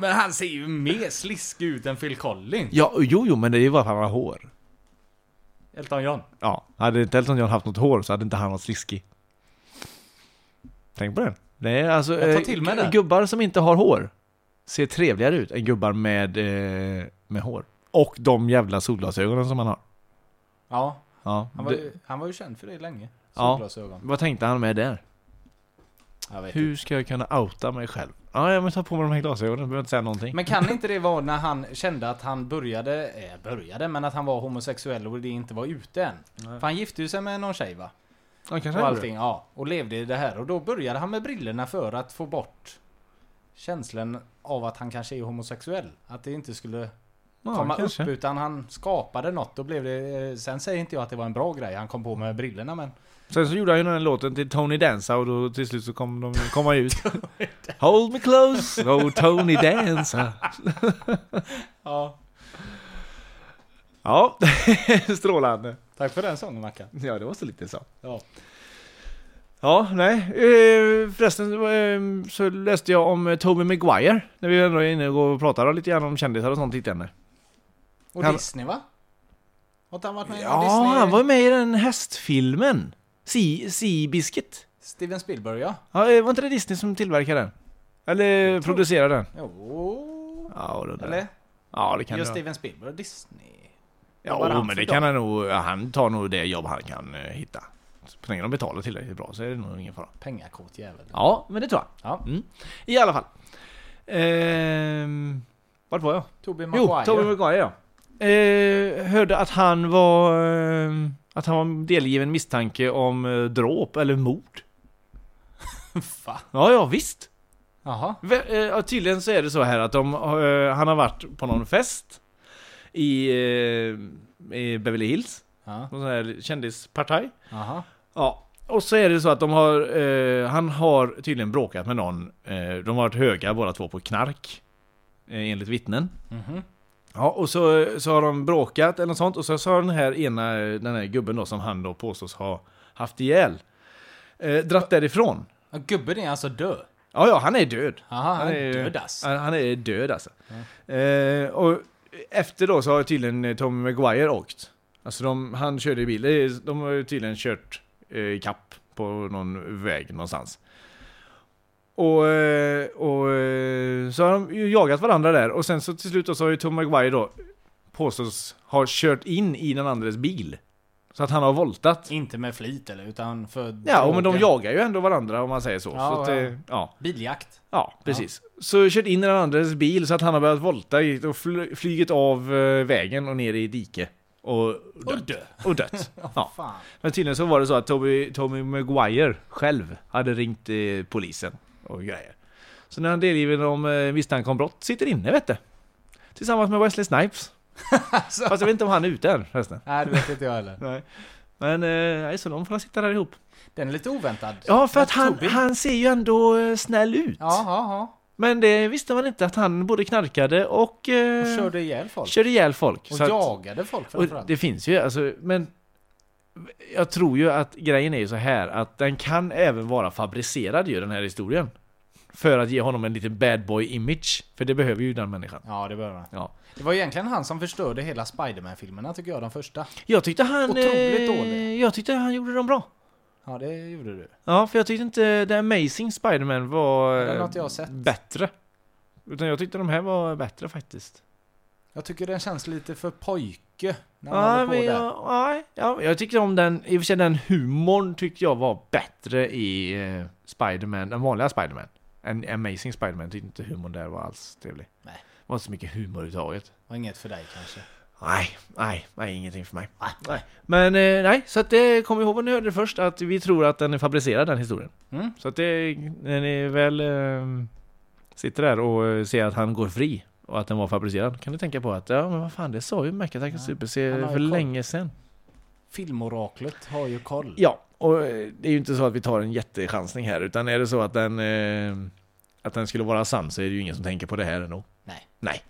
Speaker 3: men han ser ju mer sliskig ut än Phil Collins.
Speaker 2: Ja, jo, jo, men det är ju bara för att han har hår.
Speaker 3: Elton John.
Speaker 2: Ja, hade inte Elton John haft något hår så hade inte han varit sliskig. Tänk på det. Nej, alltså,
Speaker 3: Jag tar
Speaker 2: eh,
Speaker 3: till mig
Speaker 2: gu-
Speaker 3: det.
Speaker 2: Gubbar som inte har hår ser trevligare ut än gubbar med, eh, med hår. Och de jävla solglasögonen som han har.
Speaker 3: Ja,
Speaker 2: Ja,
Speaker 3: han var,
Speaker 2: det-
Speaker 3: ju, han var ju känd för det länge.
Speaker 2: Ja.
Speaker 3: Solglasögon.
Speaker 2: Vad tänkte han med där?
Speaker 3: Jag vet
Speaker 2: Hur ska jag kunna outa mig själv? Ja, jag måste ta på mig de här glasögonen, jag behöver inte säga någonting.
Speaker 3: Men kan inte det vara när han kände att han började, eh, började, men att han var homosexuell och det inte var ute än? För han gifte ju sig med någon tjej
Speaker 2: ja,
Speaker 3: va?
Speaker 2: kanske han
Speaker 3: Och
Speaker 2: gjorde
Speaker 3: allting, ja. Och levde i det här. Och då började han med brillorna för att få bort känslan av att han kanske är homosexuell. Att det inte skulle
Speaker 2: det. ja,
Speaker 3: komma
Speaker 2: kanske.
Speaker 3: upp utan han skapade något. Då blev det, eh, sen säger inte jag att det var en bra grej han kom på med brillorna men...
Speaker 2: Sen så gjorde han ju den här låten till Tony Danza och då till slut så kom de kom han ju ut. Hold me close, oh Tony Danza.
Speaker 3: Ja.
Speaker 2: Ja, strålande.
Speaker 3: Tack för den sången Mackan.
Speaker 2: Ja, det var så lite så.
Speaker 3: Ja.
Speaker 2: Ja, nej. Eh, Förresten eh, så läste jag om eh, Tobey Maguire. När vi ändå är inne och pratar lite grann om kändisar och sånt lite grann.
Speaker 3: Och
Speaker 2: Han-
Speaker 3: Disney va? Har inte han varit med i någon
Speaker 2: Ja,
Speaker 3: Disney?
Speaker 2: han var med i den hästfilmen. Sea, sea Biscuit.
Speaker 3: Steven Spielberg ja.
Speaker 2: Ja, eh, var inte det Disney som tillverkade den? Eller producerade den?
Speaker 3: Jo.
Speaker 2: Ja, det,
Speaker 3: Eller?
Speaker 2: ja, det kan
Speaker 3: Just
Speaker 2: det vara.
Speaker 3: Steven Spielberg och Disney.
Speaker 2: Ja,
Speaker 3: Vad var han
Speaker 2: men
Speaker 3: för
Speaker 2: det
Speaker 3: dag?
Speaker 2: kan han nog. ja, Han tar nog det jobb han kan eh, hitta. Så länge de betalar tillräckligt bra så är det nog ingen fara.
Speaker 3: Pengakåt jävel.
Speaker 2: Ja, men det tror jag.
Speaker 3: Ja.
Speaker 2: Mm. I alla fall. Ehm, vart var jag?
Speaker 3: Tobey Maguire.
Speaker 2: Jo, Tobey Maguire ja. Eh, hörde att han var... Eh, att han var delgiven misstanke om eh, dråp eller mord.
Speaker 3: Va?
Speaker 2: Ja, ja visst.
Speaker 3: Jaha.
Speaker 2: Vä- eh, ja, tydligen så är det så här att de, eh, han har varit på någon fest i, eh, i Beverly Hills.
Speaker 3: Ja.
Speaker 2: Någon sån här kändispartaj.
Speaker 3: Aha.
Speaker 2: Ja. och så är det så att de har, eh, han har tydligen bråkat med någon. Eh, de har varit höga båda två på knark. Eh, enligt vittnen. Ja, och så, så har de bråkat eller något sånt. Och så så har den här ena, eh, den här gubben då som han då påstås ha haft ihjäl. Eh, dratt därifrån.
Speaker 3: Ja, Gubben är alltså död.
Speaker 2: Ja, ja, han är död.
Speaker 3: Aha, han
Speaker 2: ju-
Speaker 3: är död alltså.
Speaker 2: Han, han är död alltså. Eh, och efter då så har tydligen eh, Tommy Maguire åkt. Alltså de, han körde i bil. Det är- De har ju tydligen kört eh, i kapp på någon väg någonstans. Och, eh, och eh, så har de ju jagat varandra där och sen så till slut då så har ju Tom Maguire då påstås ha kört in i den andres bil. Så att han har voltat.
Speaker 3: Inte med flit eller, utan för...
Speaker 2: Ja, och men de
Speaker 3: droger.
Speaker 2: jagar ju ändå varandra om man säger så.
Speaker 3: Ja,
Speaker 2: så att,
Speaker 3: ja.
Speaker 2: eh, ja.
Speaker 3: Biljakt.
Speaker 2: Ja, precis. Så kört in i den andres bil så att han har börjat volta i- och fl- flugit av eh, vägen och ner i dike. Och
Speaker 3: Och
Speaker 2: dött.
Speaker 3: dö.
Speaker 2: Och dött. ja.
Speaker 3: Fan.
Speaker 2: Men tydligen så var det så att Tommy, Tommy Maguire själv hade ringt eh, polisen och grejer. Så när han delgiven om eh, misstanke om brott sitter inne vet du. Tillsammans med Wesley Snipes.
Speaker 3: Alltså.
Speaker 2: Fast jag vet inte om han är ute än förresten.
Speaker 3: Nej, det vet inte jag heller.
Speaker 2: Men eh, nej, så de får sitta där ihop.
Speaker 3: Den är lite oväntad.
Speaker 2: Ja, för att han,
Speaker 3: Tobbe.
Speaker 2: han ser ju ändå eh, snäll ut.
Speaker 3: Ja, ja,
Speaker 2: Men det visste man inte att han både knarkade och,
Speaker 3: ja.
Speaker 2: eh,
Speaker 3: Och körde ihjäl folk.
Speaker 2: körde ihjäl folk.
Speaker 3: Och
Speaker 2: Så att-
Speaker 3: jagade folk
Speaker 2: och
Speaker 3: framförallt.
Speaker 2: det finns ju, alltså, men jag tror ju att grejen är ju så här att den kan även vara fabricerad ju, den här historien. För att ge honom en liten bad boy image. För det behöver ju den människan.
Speaker 3: Ja, det behöver man.
Speaker 2: Ja.
Speaker 3: Det var egentligen han som förstörde hela Spiderman-filmerna tycker jag, de första.
Speaker 2: Jag tyckte han... eh,
Speaker 3: Otroligt dålig.
Speaker 2: Jag tyckte han gjorde dem bra.
Speaker 3: Ja, det gjorde du.
Speaker 2: Ja, för jag tyckte inte The Amazing Spider-Man var
Speaker 3: Den
Speaker 2: eh,
Speaker 3: har inte jag sett.
Speaker 2: bättre. Utan jag tyckte de här var bättre faktiskt.
Speaker 3: Jag tycker den känns lite för pojke. När man
Speaker 2: Ja,
Speaker 3: håller på
Speaker 2: men
Speaker 3: där.
Speaker 2: jag, nej, ja, jag tyckte om den, i och för sig den humorn tyckte jag var bättre i eh, Spiderman, den vanliga Spiderman. Än Amazing Spiderman tyckte inte humorn där var alls trevlig.
Speaker 3: Nej.
Speaker 2: Det var inte så mycket humor överhuvudtaget.
Speaker 3: Och inget för dig kanske.
Speaker 2: Nej, nej, nej, ingenting för mig. Nej. Men eh, nej, så att det, kom ihåg när ni hörde det först att vi tror att den är fabricerad den historien.
Speaker 3: Mm.
Speaker 2: Så att det, när ni väl eh, sitter där och eh, ser att han går fri och att den var fabricerad kan du tänka på att ja men vad fan det sa ju McAttack Super
Speaker 3: han har ju
Speaker 2: för
Speaker 3: koll.
Speaker 2: länge sedan.
Speaker 3: Filmoraklet har ju koll.
Speaker 2: Ja, och eh, det är ju inte så att vi tar en jättechansning här, utan är det så att den, eh, att den skulle vara sann så är det ju ingen som tänker på det här ändå.
Speaker 3: Nej.
Speaker 2: Nej.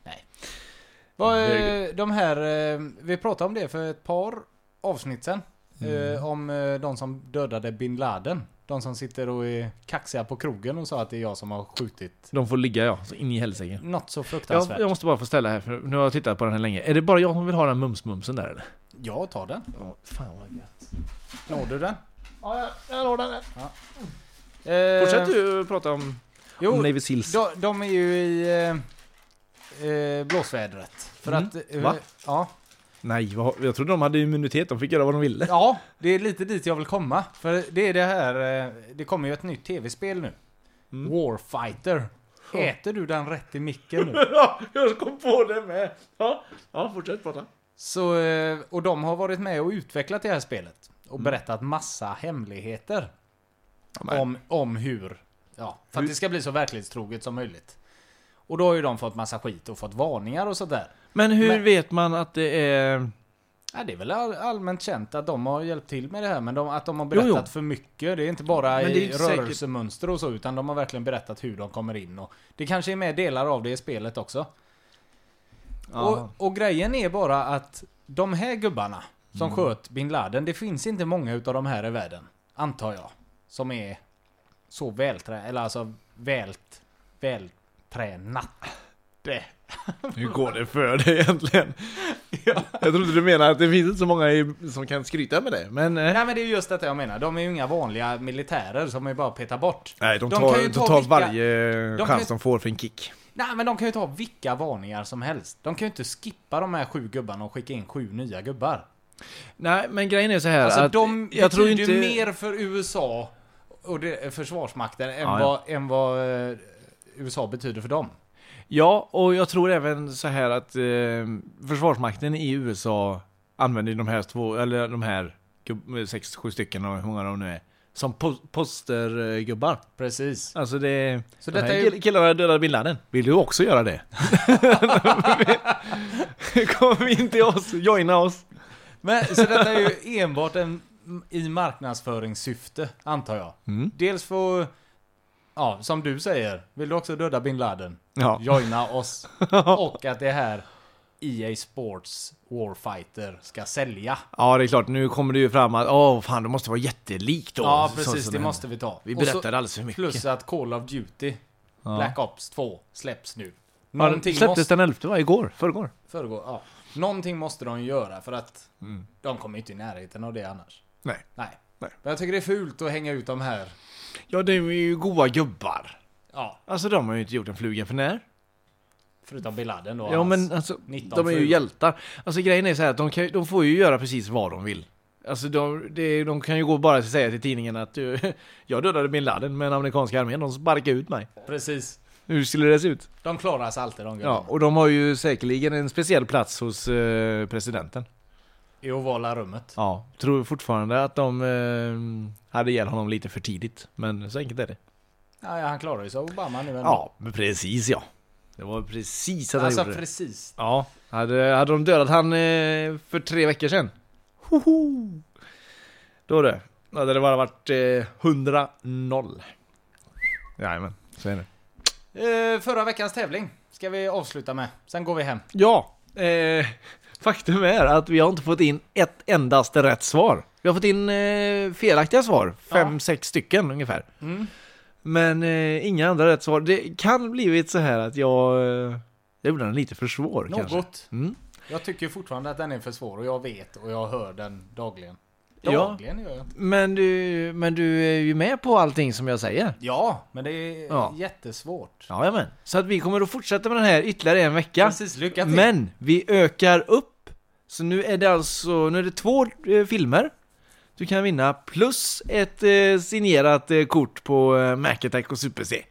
Speaker 3: Vad, eh,
Speaker 2: Det är
Speaker 3: de här, eh, vi pratade om det för ett par avsnitt sen.
Speaker 2: Mm.
Speaker 3: Eh, om eh, de som dödade bin Laden. De som sitter och är kaxiga på krogen och sa att det är jag som har skjutit.
Speaker 2: De får ligga ja, så in i helsike.
Speaker 3: Något så
Speaker 2: Jag,
Speaker 3: fruktansvärt.
Speaker 2: jag måste bara få ställa här, för nu har jag tittat på den här länge. Är det bara jag som vill ha den mumsmumsen där eller?
Speaker 3: Jag tar den.
Speaker 2: Ja, fan vad gött.
Speaker 3: Når du den?
Speaker 2: Ja, jag, jag har den Eh, här.
Speaker 3: Eh,
Speaker 2: Fortsätt du prata om, om
Speaker 3: Jo,
Speaker 2: Navy Seals.
Speaker 3: de, de är ju i eh, eh, blåsvädret. För
Speaker 2: Mm.
Speaker 3: att... Eh,
Speaker 2: Va?
Speaker 3: Ja.
Speaker 2: Nej, vad, jag trodde de hade immunitet, de fick göra vad de ville.
Speaker 3: Ja, det är lite dit jag vill komma. För det är det här, eh, det kommer ju ett nytt tv-spel nu. Warfighter. Äter du den rätt i micken nu?
Speaker 2: Ja, jag kom på det med! Ja, ja fortsätt prata.
Speaker 3: Så, eh, och de har varit med och utvecklat det här spelet. Och berättat massa hemligheter. om, om hur, ja, för att det ska bli så verklighetstroget som möjligt. Och då har ju de fått massa skit och fått varningar och sådär.
Speaker 2: Men hur
Speaker 3: Men-
Speaker 2: vet man att det är...
Speaker 3: Ja, det är väl all, allmänt känt att de har hjälpt till med det här, men de, att de har berättat
Speaker 2: Jo, jo.
Speaker 3: för mycket. Det är inte bara
Speaker 2: Men det är ju
Speaker 3: i
Speaker 2: inte säkert-
Speaker 3: rörelsemönster och så, utan de har verkligen berättat hur de kommer in. Och det kanske är med delar av det i spelet också. Och, och grejen är bara att de här gubbarna som
Speaker 2: Mm.
Speaker 3: sköt bin Laden, det finns inte många utav de här i världen. Antar jag. Som är så vältränade, eller alltså vält, vältränat.
Speaker 2: Hur går det för dig egentligen? Jag trodde du menade att det finns inte så många i- som kan skryta med det, men... eh,
Speaker 3: Nej men det är just detta jag menar. De är ju inga vanliga militärer som är bara petar bort.
Speaker 2: Nej, de
Speaker 3: De
Speaker 2: tar,
Speaker 3: kan ju
Speaker 2: de
Speaker 3: ta
Speaker 2: tar
Speaker 3: vilka-
Speaker 2: varje
Speaker 3: kan
Speaker 2: chans
Speaker 3: ju-
Speaker 2: de får för en kick.
Speaker 3: Nej men de kan ju ta vilka varningar som helst. De kan ju inte skippa de här sju gubbarna och skicka in sju nya gubbar.
Speaker 2: Nej, men grejen är så här
Speaker 3: Alltså
Speaker 2: att...
Speaker 3: de
Speaker 2: jag tror
Speaker 3: betyder
Speaker 2: inte...
Speaker 3: ju mer för USA och det, försvarsmakten än,
Speaker 2: Ja, ja.
Speaker 3: vad, än vad eh, USA betyder för dem.
Speaker 2: Ja, och jag tror även så här att eh, Försvarsmakten i USA använder ju de här två, eller de här gub- sex, sju stycken, och hur många de nu är, som po- postergubbar.
Speaker 3: Precis.
Speaker 2: Alltså det...
Speaker 3: Så
Speaker 2: de
Speaker 3: detta
Speaker 2: här
Speaker 3: är ju-
Speaker 2: kill- killarna dödade bin Laden. Vill du också göra det? Kom in till oss, joina oss!
Speaker 3: Men, så detta är ju enbart en i marknadsföringssyfte, antar jag.
Speaker 2: Mm.
Speaker 3: Dels för, ja, som du säger, vill du också döda bin Laden?
Speaker 2: Ja.
Speaker 3: Joina oss. Och att det här EA Sports Warfighter ska sälja.
Speaker 2: Ja, det är klart. Nu kommer det ju fram att åh, fan, det måste vara jättelikt då.
Speaker 3: ja,
Speaker 2: Så-
Speaker 3: precis.
Speaker 2: så-
Speaker 3: Det måste vi ta.
Speaker 2: Vi
Speaker 3: Och så-
Speaker 2: berättar alldeles för mycket.
Speaker 3: Plus att Call of Duty Black Ops 2 släpps nu.
Speaker 2: Ja, den
Speaker 3: Någonting
Speaker 2: släpptes
Speaker 3: måste-
Speaker 2: den 11 va? Igår? Förrgår?
Speaker 3: Föregå, ja. Någonting måste de göra för att de kommer inte i närheten av det annars.
Speaker 2: Nej.
Speaker 3: Nej.
Speaker 2: Mm. Nej.
Speaker 3: Men jag tycker det är fult att hänga ut de här.
Speaker 2: Ja, det är ju goa gubbar.
Speaker 3: Ja,
Speaker 2: Alltså de har ju inte gjort en fluga för när.
Speaker 3: förutom Bin Laden då.
Speaker 2: Ja,
Speaker 3: hans-
Speaker 2: men alltså,
Speaker 3: 19
Speaker 2: de är ju
Speaker 3: fruar.
Speaker 2: hjältar. Alltså grejen är så här att de, kan, ju- de får ju göra precis vad de vill. Alltså de, det, de kan ju gå bara och säga till tidningen att du, jag dödade bin Laden men amerikanska armén de sparkade ut mig.
Speaker 3: Precis.
Speaker 2: Hur skulle det se ut?
Speaker 3: De klarar sig alltid de
Speaker 2: Ja,
Speaker 3: gubbarna.
Speaker 2: och de har ju säkerligen en speciell plats hos eh, presidenten.
Speaker 3: I ovala rummet.
Speaker 2: Ja, tror fortfarande att de eh, hade ihjäl honom lite för tidigt. Men så enkelt är det.
Speaker 3: Ja, ja, han klarar ju sig Obama nu ändå.
Speaker 2: Ja, men precis ja. Det var precis att han
Speaker 3: alltså
Speaker 2: gjorde det.
Speaker 3: precis.
Speaker 2: Ja, hade, hade de dödat han eh, för tre veckor sedan. Hoho! Då det. Då hade det bara varit eh, 100-0. Jajamän, så är det.
Speaker 3: Eh, förra veckans tävling ska vi avsluta med. Sen går vi hem.
Speaker 2: Ja, eh, faktum är att vi har inte fått in ett endaste rätt svar. Vi har fått in eh, felaktiga svar, fem, sex stycken ungefär. Men eh, inga andra rätt svar. Det kan blivit så här att jag, eh, jag gjorde den lite för svår kanske.
Speaker 3: Något.
Speaker 2: Mm.
Speaker 3: Jag tycker fortfarande att den är för svår och jag vet och jag hör den dagligen.
Speaker 2: Ja.
Speaker 3: Dagligen gör jag inte.
Speaker 2: Men du, men du är ju med på allting som jag säger.
Speaker 3: Ja, men det är
Speaker 2: Ja.
Speaker 3: jättesvårt.
Speaker 2: Jajamän. Så att vi kommer att fortsätta med den här ytterligare en vecka.
Speaker 3: Precis, lycka till.
Speaker 2: Men vi ökar upp. Så nu är det alltså, nu är det två eh, filmer du kan vinna plus ett eh, signerat eh, kort på eh, Mac Attack och Super C.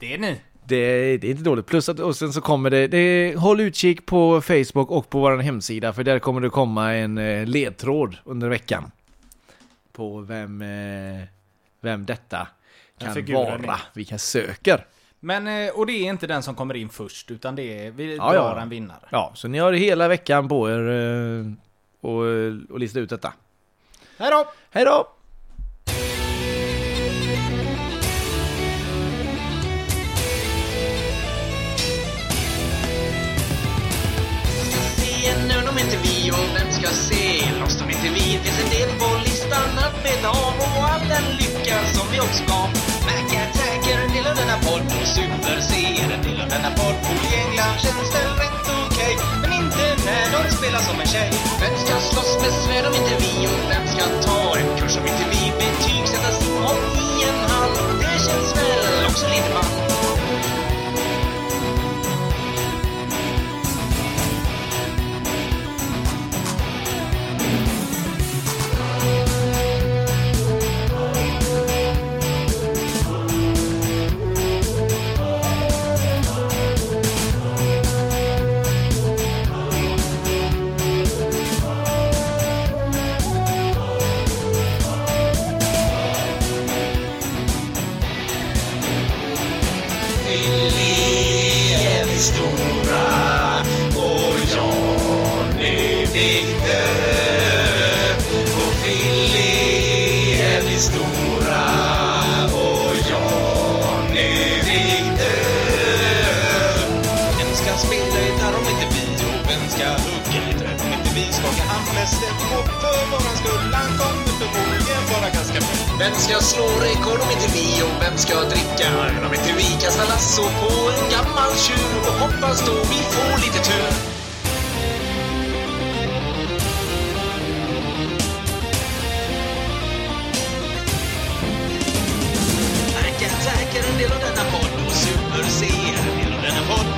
Speaker 3: Det är ni.
Speaker 2: Det, det är inte dåligt. Plus att, och sen så kommer det, det, håll utkik på Facebook och på vår hemsida för där kommer det komma en eh, ledtråd under veckan. På vem, eh, vem detta
Speaker 3: Den
Speaker 2: kan
Speaker 3: figuren är.
Speaker 2: vara, vilka söker.
Speaker 3: Men, eh, och det är inte den som kommer in först, utan det är, vi
Speaker 2: Ja,
Speaker 3: drar
Speaker 2: ja.
Speaker 3: en vinnare.
Speaker 2: Ja, så ni har hela veckan på er eh, och, och lista ut detta.
Speaker 3: Hej då!
Speaker 2: Hej då!
Speaker 8: Igen nu de inte vi och vem ska se? Loss de inte vi, finns en del på listan att beta av och all den lycka som vi också gav. Mac Attack är en del av denna podd, Super C är en del av denna podd. Gänglar känns väl rätt okej, men inte
Speaker 4: eh,
Speaker 8: när de spelar som en tjej. Vem ska slåss med svärd om inte vi och vem ska ta en kurs om inte vi? Betygsätta sin om i
Speaker 4: e
Speaker 8: en hall, det känns väl också lite man. Vem ska spela gitarr om inte vi? Och vem ska hugga lite om inte vi? Skaka hand med Steffo för våran skull. Han kommer förmodligen vara ganska bra. Vem ska slå rekord om inte vi? Och vem ska dricka öl om inte vi? Kasta lasso på en gammal tjur och hoppas då vi får lite tur. Mac Attack är en del av denna podd och Super C är en del av denna podd.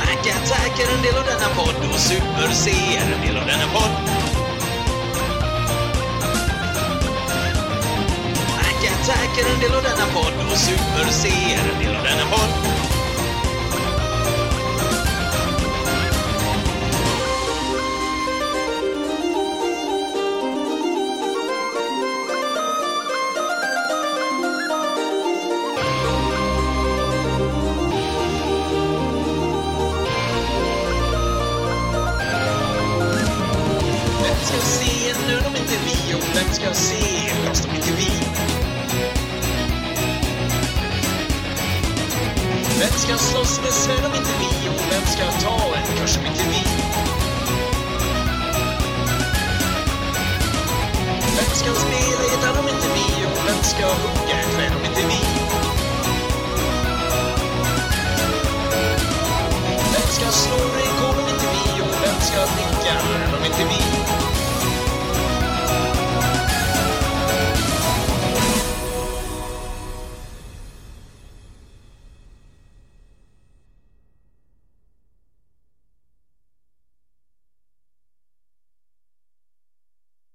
Speaker 8: Mac Attack är en del av denna podd och Super C är en del av denna podd. Mac Attack är en del av denna podd och Super C är en del av denna podd. ska se? Nu är de inte vi. Och vem ska se? Lost om inte vi. Vem ska slåss med Sven om inte vi? Och vem ska ta en kurs om inte vi? Vem ska spela gitarr om inte vi? Och vem ska hugga en kväll om inte vi?